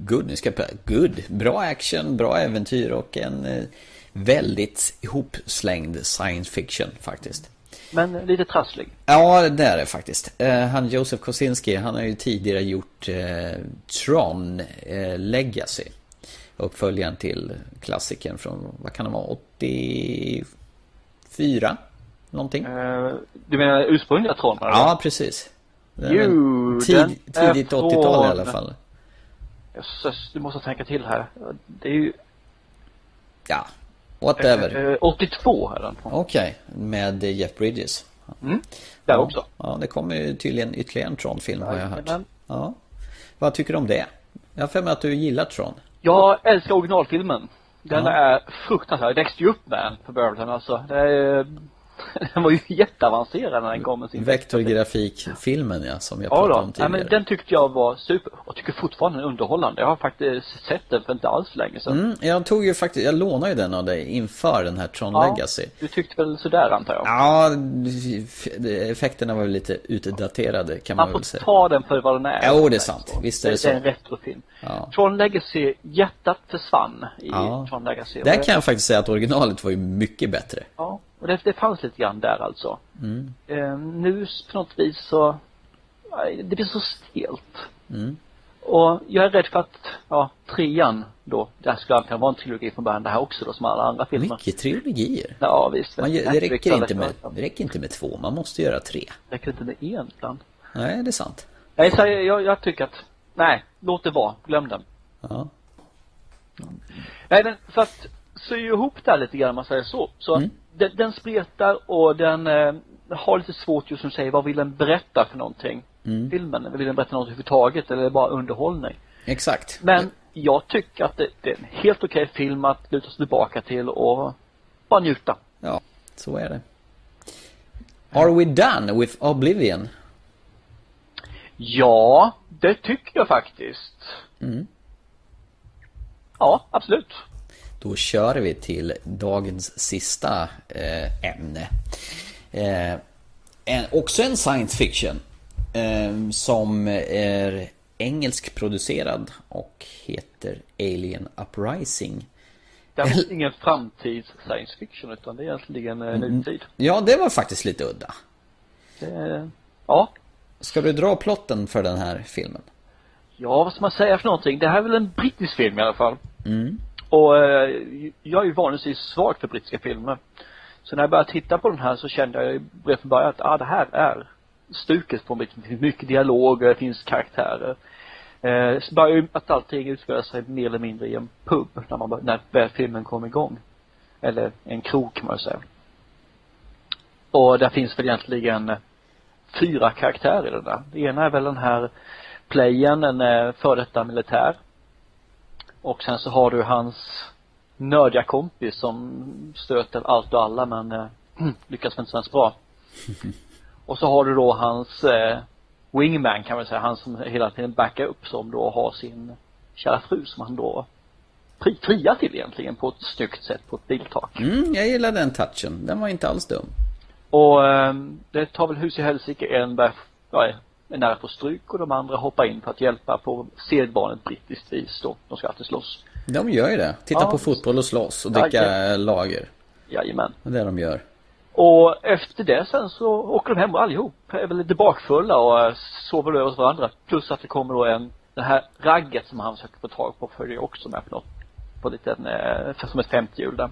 S7: good, nu ska jag prä- good. Bra action, bra äventyr och en eh, väldigt ihopslängd science fiction faktiskt.
S6: Men lite trasslig.
S7: Ja, det är det faktiskt. Eh, Han Josef Kosinski, han har ju tidigare gjort eh, Tron eh, Legacy. Uppföljaren till klassikern från, vad kan det vara, 84? Någonting?
S6: Eh, du menar ursprungliga Tron? eller?
S7: Ja, precis. Den är
S6: Jo, den
S7: tid,
S6: är
S7: tidigt 80-tal i alla
S6: från-
S7: fall.
S6: Jösses, du måste tänka till här. Det är ju...
S7: Ja, whatever.
S6: Eh, 82 är den från.
S7: Okej, med Jeff Bridges.
S6: Där
S7: ja.
S6: också.
S7: Ja, det kommer ju tydligen ytterligare en Tron-film har jag hört.
S6: Jajamän.
S7: Ja. Vad tycker du om det? Jag har för mig att du gillar Tron.
S6: Jag älskar originalfilmen. Den
S7: Ja.
S6: är fruktansvärd. Jag växte ju upp med den på början alltså. Det är, den var ju jätteavancerad när den kom med sin
S7: Vektorgrafikfilmen ja, som jag
S6: Ja
S7: pratade
S6: då.
S7: om
S6: Ja,
S7: tidigare.
S6: men den tyckte jag var super. Och tycker fortfarande den är underhållande. Jag har faktiskt sett den för inte alls länge sedan.
S7: mm, jag tog ju faktiskt, jag lånade ju den av dig inför den här Tron
S6: Ja,
S7: Legacy.
S6: Du tyckte väl sådär antar jag?
S7: Ja, f- effekterna var ju lite utdaterade kan man,
S6: Man
S7: väl
S6: får
S7: säga.
S6: ta den för vad den är.
S7: Jo, det är sant. Visst är det så.
S6: Det är en retrofilm.
S7: Ja.
S6: Tron Legacy, hjärtat försvann i
S7: Ja.
S6: Tron Legacy.
S7: Där kan jag faktiskt säga att originalet var ju mycket bättre.
S6: Ja, och det, det fanns lite grann där alltså.
S7: Mm.
S6: Eh, nu s- på något vis så, nej, det blir så stelt.
S7: Mm.
S6: Och jag är rädd för att, ja, trean då, det här skulle antagligen vara en trilogi från början det här också då som alla andra filmer.
S7: Mycket trilogier.
S6: Ja, visst.
S7: Man, gör- det,
S6: Netflix
S7: räcker
S6: eller
S7: inte med,
S6: så.
S7: det räcker inte med två, man måste göra tre.
S6: Det räcker inte med en ibland.
S7: Nej, det är sant.
S6: Nej, så jag, jag, jag tycker att, nej, låt det vara, glöm den.
S7: Ja.
S6: Nej men för att sy ihop det här lite grann om man säger så. Så den, den spretar och den eh, har lite svårt just som du säger, vad vill den berätta för någonting? Filmen, vill den berätta något överhuvudtaget eller är det bara underhållning?
S7: Exakt.
S6: Men jag tycker att det, det är en helt okej film att luta sig tillbaka till och bara njuta.
S7: Ja, så är det. Are we done with Oblivion?
S6: Ja, det tycker jag faktiskt. Ja, absolut.
S7: Då kör vi till dagens sista eh, ämne. Eh, en, också en science fiction eh, som är engelskproducerad och heter Alien Uprising.
S6: Det här är ingen framtids science fiction utan det är egentligen eh, nutid.
S7: Ja, det var faktiskt lite udda.
S6: Det, ja,
S7: Ska du dra plotten för den här filmen?
S6: Ja, vad ska man säga för någonting? Det här är väl en brittisk film i alla fall. Och eh, jag är ju vanligtvis svag för brittiska filmer. Så när jag började titta på den här så kände jag ju redan från början att ah, det här är stuket på en brittisk film. Det finns mycket dialoger, det finns karaktärer. Eh, så började ju att allting utspelar sig mer eller mindre i en pub när, man, bör- när väl filmen kom igång. Eller en krog kan man ju säga. Och där finns väl egentligen eh, fyra karaktärer i den där. Det ena är väl den här playen, en eh, före detta militär. Och sen så har du hans nördiga kompis som stöter allt och alla men eh, lyckas inte så hemskt bra. och så har du då hans eh, wingman kan man säga, han som hela tiden backar upp som då har sin kära fru som han då pri- friar till egentligen på ett snyggt sätt på ett biltak.
S7: Mm, jag gillar den touchen. Den var inte alls dum.
S6: Och eh, det tar väl hus i helsike en bär, ja, är nära på stryk och de andra hoppar in för att hjälpa på sedvanligt brittiskt vis då. De ska alltid slåss.
S7: De gör ju det. Titta
S6: Ja.
S7: på fotboll och slåss och
S6: Ja,
S7: dricka lager.
S6: Jajamän.
S7: Det är det de gör.
S6: Och efter det sen så åker de hem och allihop är väl lite bakfulla och eh, sover över hos varandra. Plus att det kommer då en, det här ragget som han försöker få tag på följer också med på något, på en liten, eh, som ett femtehjul där.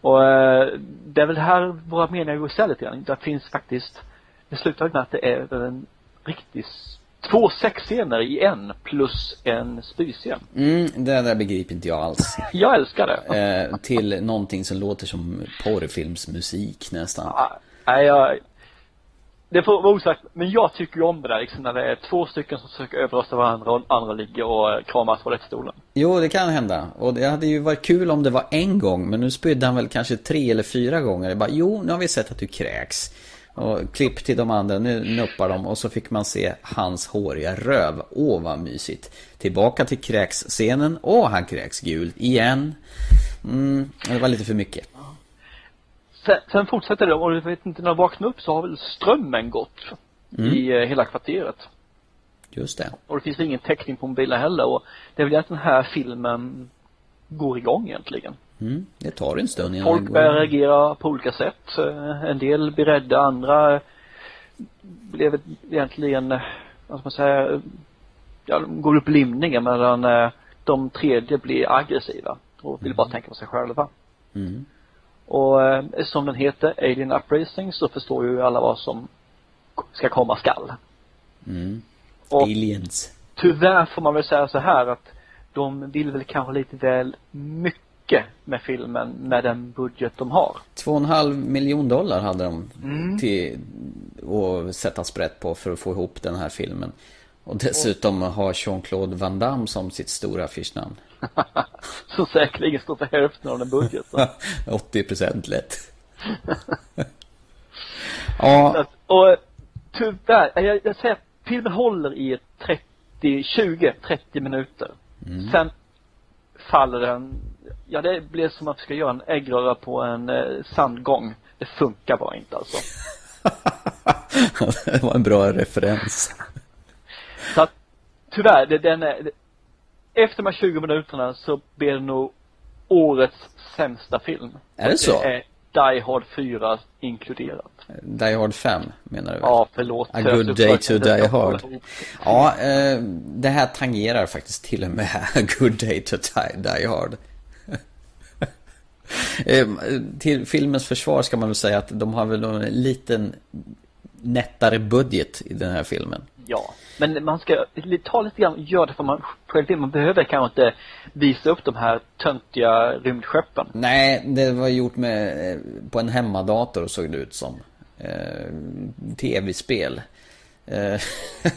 S6: Och eh, det är väl här våra meningar går isär lite grann. Det finns faktiskt, det slutar med att det är en riktig, s- två sexscener i en plus en spyscen.
S7: Mm, det där begriper inte jag alls.
S6: Jag älskar det.
S7: Eh, till någonting som låter som porrfilmsmusik nästan.
S6: Ja, Ah, Nej, jag... Det får vara osagt, men jag tycker ju om det där liksom när det är två stycken som försöker överrösta varandra och andra ligger och eh, kramas på toalettstolen.
S7: Jo, det kan hända. Och det hade ju varit kul om det var en gång, men nu spydde han väl kanske tre eller fyra gånger. Det bara, jo, nu har vi sett att du kräks. Och klipp till de andra, nu nuppar de och så fick man se hans håriga röv. Åh, vad mysigt. Tillbaka till kräksscenen. Åh, han kräks gult igen. Mm, det var lite för mycket.
S6: Sen, sen fortsätter det och du vet inte, när de vaknar upp så har väl strömmen gått i eh, hela kvarteret.
S7: Just det.
S6: Och det finns ingen täckning på mobilen heller och det är väl att den här filmen går igång egentligen.
S7: Mm, det tar en stund innan
S6: Folk
S7: det
S6: börjar reagera på olika sätt. Eh, En del blir rädda, andra eh, blev egentligen, eh, vad ska man säga, eh, ja, de går upp i limningen medan eh, de tredje blir aggressiva och vill bara tänka på sig själva.
S7: Mm.
S6: Och eh, som den heter, Alien Uprising, så förstår ju alla vad som ska komma skall.
S7: Mm.
S6: Och
S7: Aliens.
S6: tyvärr får man väl säga så här att de vill väl kanske lite väl mycket med filmen med den budget de har.
S7: 2,5 miljon dollar hade de
S6: Mm.
S7: till att sätta sprätt på för att få ihop den här filmen. Och dessutom har Jean-Claude Van Damme som sitt stora affischnamn.
S6: som säkerligen står för hälften av den budgeten.
S7: 80% lätt. ja,
S6: Att- och eh, tyvärr, eh, jag, jag säger att filmen håller i 30, 20, 30 minuter.
S7: Mm.
S6: Sen faller den, ja det blir som att man ska göra en äggröra på en eh, sandgång. Det funkar bara inte alltså.
S7: det var en bra referens.
S6: Så att, tyvärr, det, den är, det, efter de här 20 minuterna så blir det nog årets sämsta film.
S7: Är det så?
S6: Det är Die Hard 4 inkluderat.
S7: Die Hard 5 menar du väl?
S6: Ja, förlåt.
S7: A good day to die
S6: Jag
S7: hard.
S6: får-
S7: Ja, eh, det här tangerar faktiskt till och med A good day to die, die hard. Eh, till filmens försvar ska man väl säga att de har väl en liten nättare budget i den här filmen.
S6: Ja, men man ska li- ta lite grann och göra det för man själv vill. Man behöver kanske inte visa upp de här töntiga rymdskeppen.
S7: Nej, det var gjort med, eh, på en hemmadator såg det ut som. Eh, Tv-spel. Eh,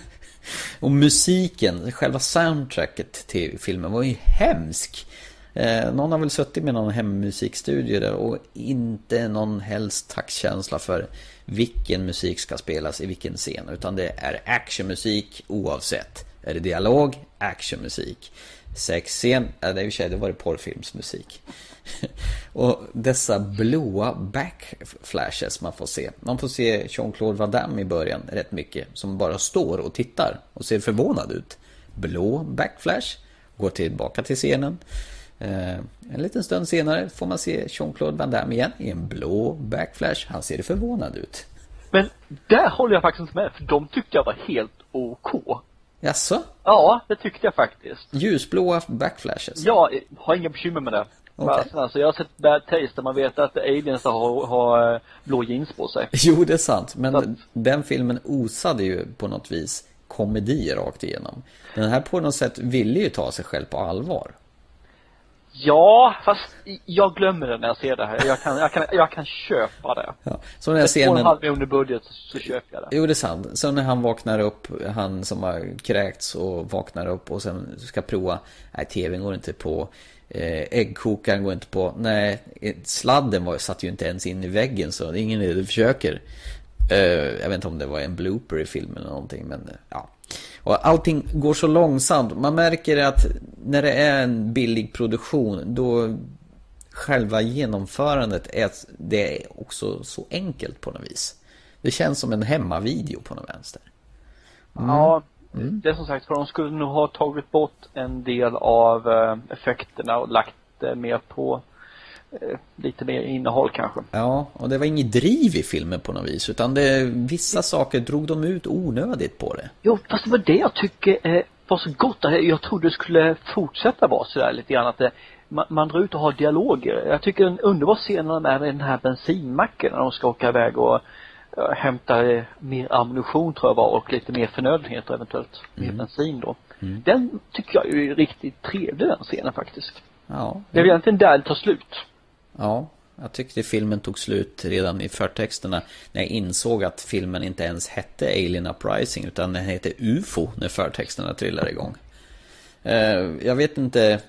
S7: och musiken, själva soundtracket till filmen var ju hemsk. Eh, någon har väl suttit med någon hemmusikstudio där och inte någon helst taktkänsla för vilken musik ska spelas i vilken scen. Utan det är actionmusik oavsett. Är det dialog? Actionmusik. Sexscen? Ja, det är i och för sig, det var det porrfilmsmusik. och dessa blåa backflashes man får se. Man får se Jean-Claude Van Damme i början rätt mycket. Som bara står och tittar och ser förvånad ut. Blå backflash. Går tillbaka till scenen. Eh, en liten stund senare får man se Jean-Claude Van Damme igen i en blå backflash. Han ser förvånad ut.
S6: Men där håller jag faktiskt inte med, för de tyckte jag var helt OK.
S7: Jaså?
S6: Ja, det tyckte jag faktiskt.
S7: Ljusblåa backflashes?
S6: Jag eh, har inga bekymmer med det.
S7: Okej.
S6: Okay. Alltså, jag har sett Bad Taste där man vet att aliens har, har eh, blå jeans på sig.
S7: Jo, det är sant. Men
S6: Att-
S7: den filmen osade ju på något vis komedi rakt igenom. Den här på något sätt ville ju ta sig själv på allvar.
S6: Ja, fast i- jag glömmer det när jag ser det här. Jag kan, jag kan, jag kan köpa det.
S7: Ja.
S6: Två
S7: Så den här
S6: och en
S7: scenen...
S6: halv miljon i budget så, så köper jag det.
S7: Jo, det är sant. Så när han vaknar upp, han som har kräkts och vaknar upp och sen ska prova, nej, tvn går inte på, Eh, äggkokaren går inte på. Nej, sladden var, satt ju inte ens in i väggen så det är ingen idé du försöker. Eh, jag vet inte om det var en blooper i filmen eller någonting men eh, ja. Och allting går så långsamt. Man märker att när det är en billig produktion då själva genomförandet är, det är också så enkelt på något vis. Det känns som en hemmavideo på något vänster.
S6: Ja, det är som sagt för de skulle nog ha tagit bort en del av eh, effekterna och lagt det mer på eh, lite mer innehåll kanske.
S7: Ja, och det var inget driv i filmen på något vis. Utan det, vissa saker drog de ut onödigt på det.
S6: Jo, fast det var det jag tycker eh, var så gott. Det här- Jag trodde det skulle fortsätta vara sådär lite grann att eh, man, man drar ut och har dialoger. Jag tycker en underbar scen när de är i den här bensinmacken när de ska åka iväg och eh, hämta eh, mer ammunition tror jag var och lite mer förnödenheter eventuellt. Mer bensin då. Den tycker jag är riktigt trevlig den scenen faktiskt.
S7: Ja,
S6: Det är väl egentligen där det tar slut.
S7: ja, jag tyckte filmen tog slut redan i förtexterna. När jag insåg att filmen inte ens hette Alien Uprising. Utan den hette UFO när förtexterna trillade igång. Eh, Jag vet inte.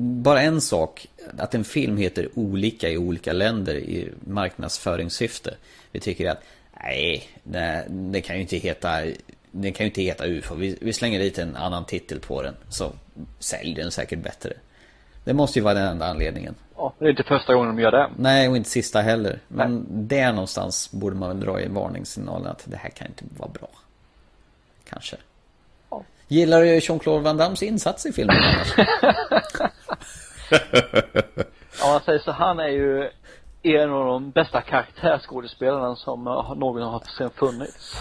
S7: Bara en sak. Att en film heter olika i olika länder i marknadsföringssyfte. Vi tycker att nej, det, det kan ju inte heta det kan ju inte heta UFO. Vi, vi slänger dit en annan titel på den. Så säljer den säkert bättre. Det måste ju vara den enda anledningen.
S6: Ja, det är inte första gången de gör det.
S7: Nej, och inte sista heller. Men där någonstans borde man väl dra i varningssignalen att det här kan inte vara bra. Kanske. Gillar du Jean-Claude Van Dammes insats i filmen annars?
S6: Ja, man säger så han är ju en av de bästa karaktärskådespelarna som eh, någon har sen funnits.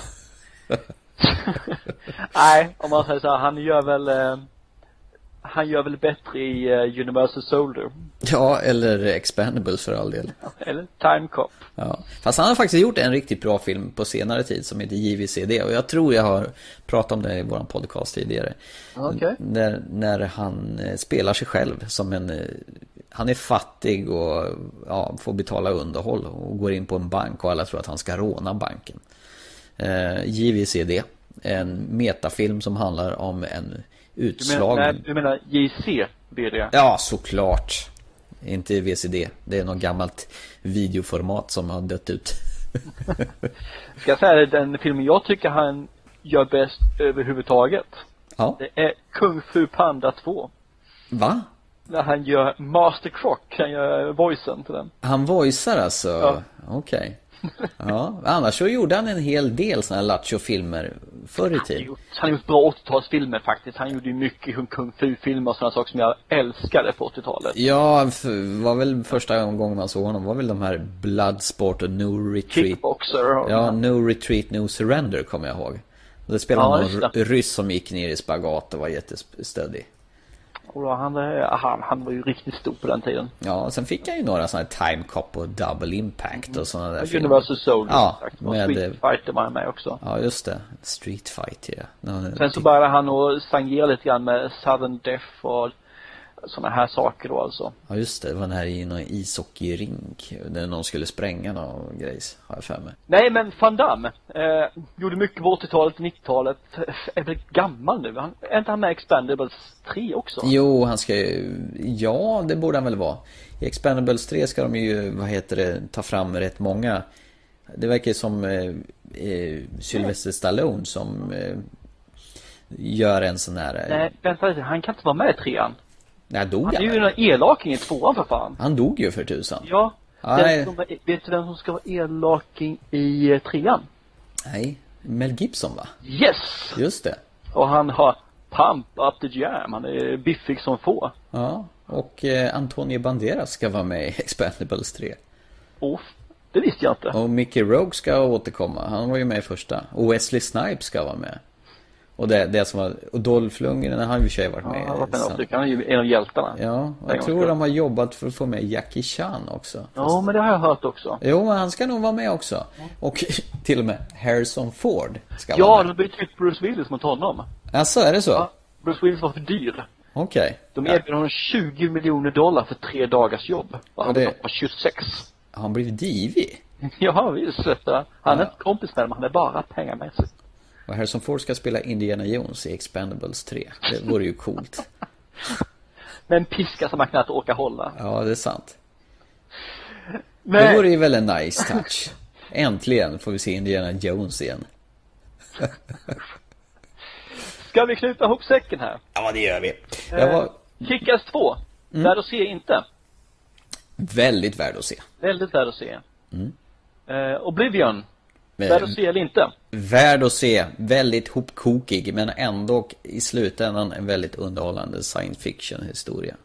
S6: Nej, om man säger så här, han gör väl eh, han gör väl bättre i eh, Universal Soldier.
S7: ja, eller Expendables för all del.
S6: Eller Time Cop.
S7: Ja. Fast han har faktiskt gjort en riktigt bra film på senare tid som heter JVCD och jag tror jag har pratat om det i våran podcast tidigare.
S6: Okej.
S7: När, när han eh, spelar sig själv som en... eh, Han är fattig och ja, får betala underhåll och går in på en bank och alla tror att han ska råna banken. Eh, JVCD, en metafilm som handlar om en
S6: Du menar,
S7: utslagen...
S6: nej, du menar JC, blir det.
S7: Ja, såklart. Inte VCD. Det är något gammalt videoformat som har dött ut.
S6: Ska jag säga det, den filmen jag tycker han gör bäst överhuvudtaget.
S7: Ja,
S6: Det är Kung Fu Panda 2.
S7: va?
S6: När han gör Master Croc, han gör voicen till den.
S7: Han voicear alltså?
S6: Ja.
S7: Okej. Ja, annars så gjorde han en hel del sådana här lattjo-filmer förr i
S6: Han har
S7: tiden.
S6: gjort- Han har gjort bra 80-talsfilmer faktiskt. Han gjorde ju mycket kung fu-filmer och sådana saker som jag älskade på 80-talet.
S7: Ja, f- var väl första gången man såg honom var väl de här Bloodsport och No Retreat.
S6: Kickboxer och...
S7: Ja, No Retreat, No Surrender kommer jag ihåg. Det spelade
S6: Ja,
S7: någon
S6: just det.
S7: r- ryss som gick ner i spagat och var jättestöddig.
S6: och då han, eh, han, han var ju riktigt stor på den tiden.
S7: Ja, och sen fick jag ju några sådana här Time Cop och Double Impact och sådana där
S6: Mm. Universal Soldier
S7: Ja,
S6: som sagt. Och
S7: med-
S6: Street Fighter var han med också.
S7: Ja, just det. Street Fight, ja. Ja,
S6: Sen så började han att stangera lite grann med Southern Death och sådana här saker då alltså.
S7: Ja, just det. Det var den här i någon ishockeyrink. Där någon skulle spränga någon grejs, har jag för mig.
S6: Nej men Van Damme, eh, gjorde mycket på 80-talet, 90-talet. Är väl gammal nu? Han, är inte han med i Expendables 3 också?
S7: Jo, han ska ju... Ja, det borde han väl vara. I Expendables 3 ska de ju, vad heter det, ta fram rätt många. Det verkar ju som eh, eh, Sylvester Stallone som eh, gör en sån här... eh,
S6: Nej, vänta lite. Han kan inte vara med i trean.
S7: Nej, dog
S6: Han
S7: han?
S6: är ju
S7: väl?
S6: en elaking i tvåan för fan.
S7: Han dog ju för tusan.
S6: Ja.
S7: Nej.
S6: Den som, var- vet du vem som ska vara elaking i eh, trean?
S7: Nej, Mel Gibson va?
S6: Yes!
S7: Just det.
S6: Och han har pump up the jam. Han är biffig som få.
S7: Ja, och eh, Antonio Banderas ska vara med i Expendables 3.
S6: Off. Det visste jag inte.
S7: Och Mickey Rogue ska återkomma, han var ju med i första. Och Wesley Snipes ska vara med. Och det, det som var, och Dolph Lundgren, han har ju i och för sig varit
S6: Ja,
S7: med.
S6: han har varit med
S7: sen.
S6: några stycken. Han är ju en av hjältarna.
S7: Ja, och jag tror de har jobbat för att få med Jackie Chan också.
S6: Ja, men det har jag hört också.
S7: Jo, men han ska nog vara med också. Och till och med Harrison Ford ska
S6: Ja,
S7: vara
S6: de
S7: med.
S6: bytte ut Bruce Willis mot honom.
S7: Alltså, är det så?
S6: Ja. Bruce Willis var för dyr.
S7: Okej.
S6: De
S7: Ja.
S6: erbjöd honom 20 miljoner dollar för tre dagars jobb. Och han
S7: Ja, det-
S6: var 26.
S7: Har han blivit divig?
S6: Ja, visst. vet du. Han är
S7: Ja.
S6: inte kompis med dem, han är bara pengamässig.
S7: Och Harrison Ford ska spela Indiana Jones i Expendables 3. Det vore ju coolt.
S6: Med en piska som man knappt orkar hålla.
S7: Ja, det är sant. Det
S6: Men,
S7: vore ju väl en nice touch. Äntligen får vi se Indiana Jones igen.
S6: ska vi knyta ihop säcken här?
S7: Ja, det gör vi.
S6: Eh.
S7: Jag var
S6: Kickers 2.
S7: Mm.
S6: Värd att se inte.
S7: väldigt värd att se.
S6: Väldigt värd att se.
S7: Mm.
S6: Eh, Oblivion. Värd
S7: Men,
S6: att se eller inte.
S7: värd att se. Väldigt hopkokig, men ändå i slutändan en väldigt underhållande science fiction historia.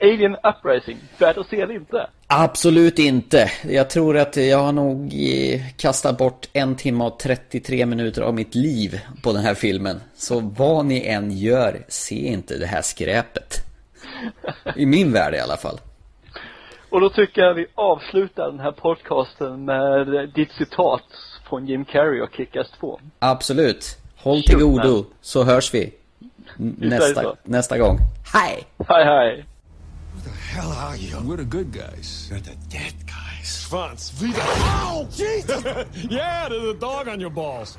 S6: Alien Uprising. Värd att se eller inte.
S7: Absolut inte. Jag tror att jag har nog eh, kastat bort en timme och 33 minuter av mitt liv på den här filmen. Så vad ni än gör, se inte det här skräpet. I min värld i alla fall.
S6: Och då tycker jag vi avslutar den här podcasten med ditt citat från Jim Carrey och Kickers 2.
S7: Absolut. Håll till
S6: Tjena.
S7: godo, så hörs vi n-
S6: Vi säger
S7: nästa,
S6: så.
S7: nästa gång. Hej!
S6: Hej hej.
S8: hell are you? We're the good guys. You're the dead guys. Svans, Vida. Oh, Jesus! yeah, there's a dog on your balls.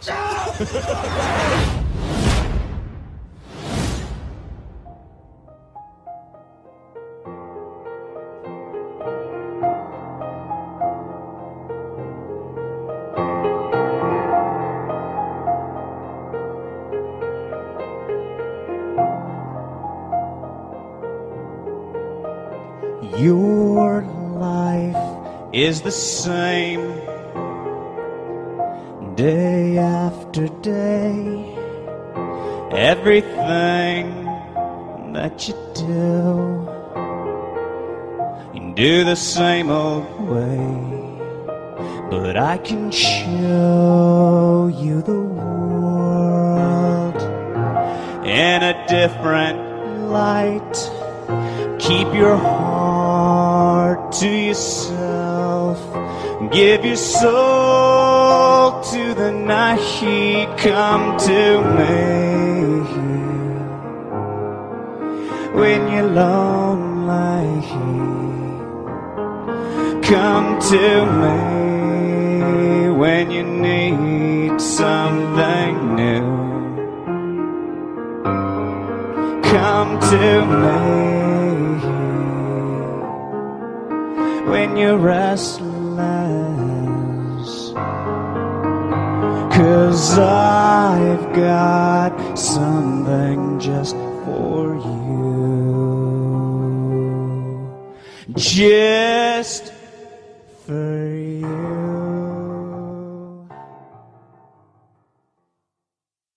S9: Your life is the same day after day. Everything that you do, you do the same old way. But I can show you the world in a different light. Keep your heart to yourself. Give your soul to the night. Come to me when you're lonely. Come to me when you need something new come to me when you're restless. Cause I've got something just for you. Just for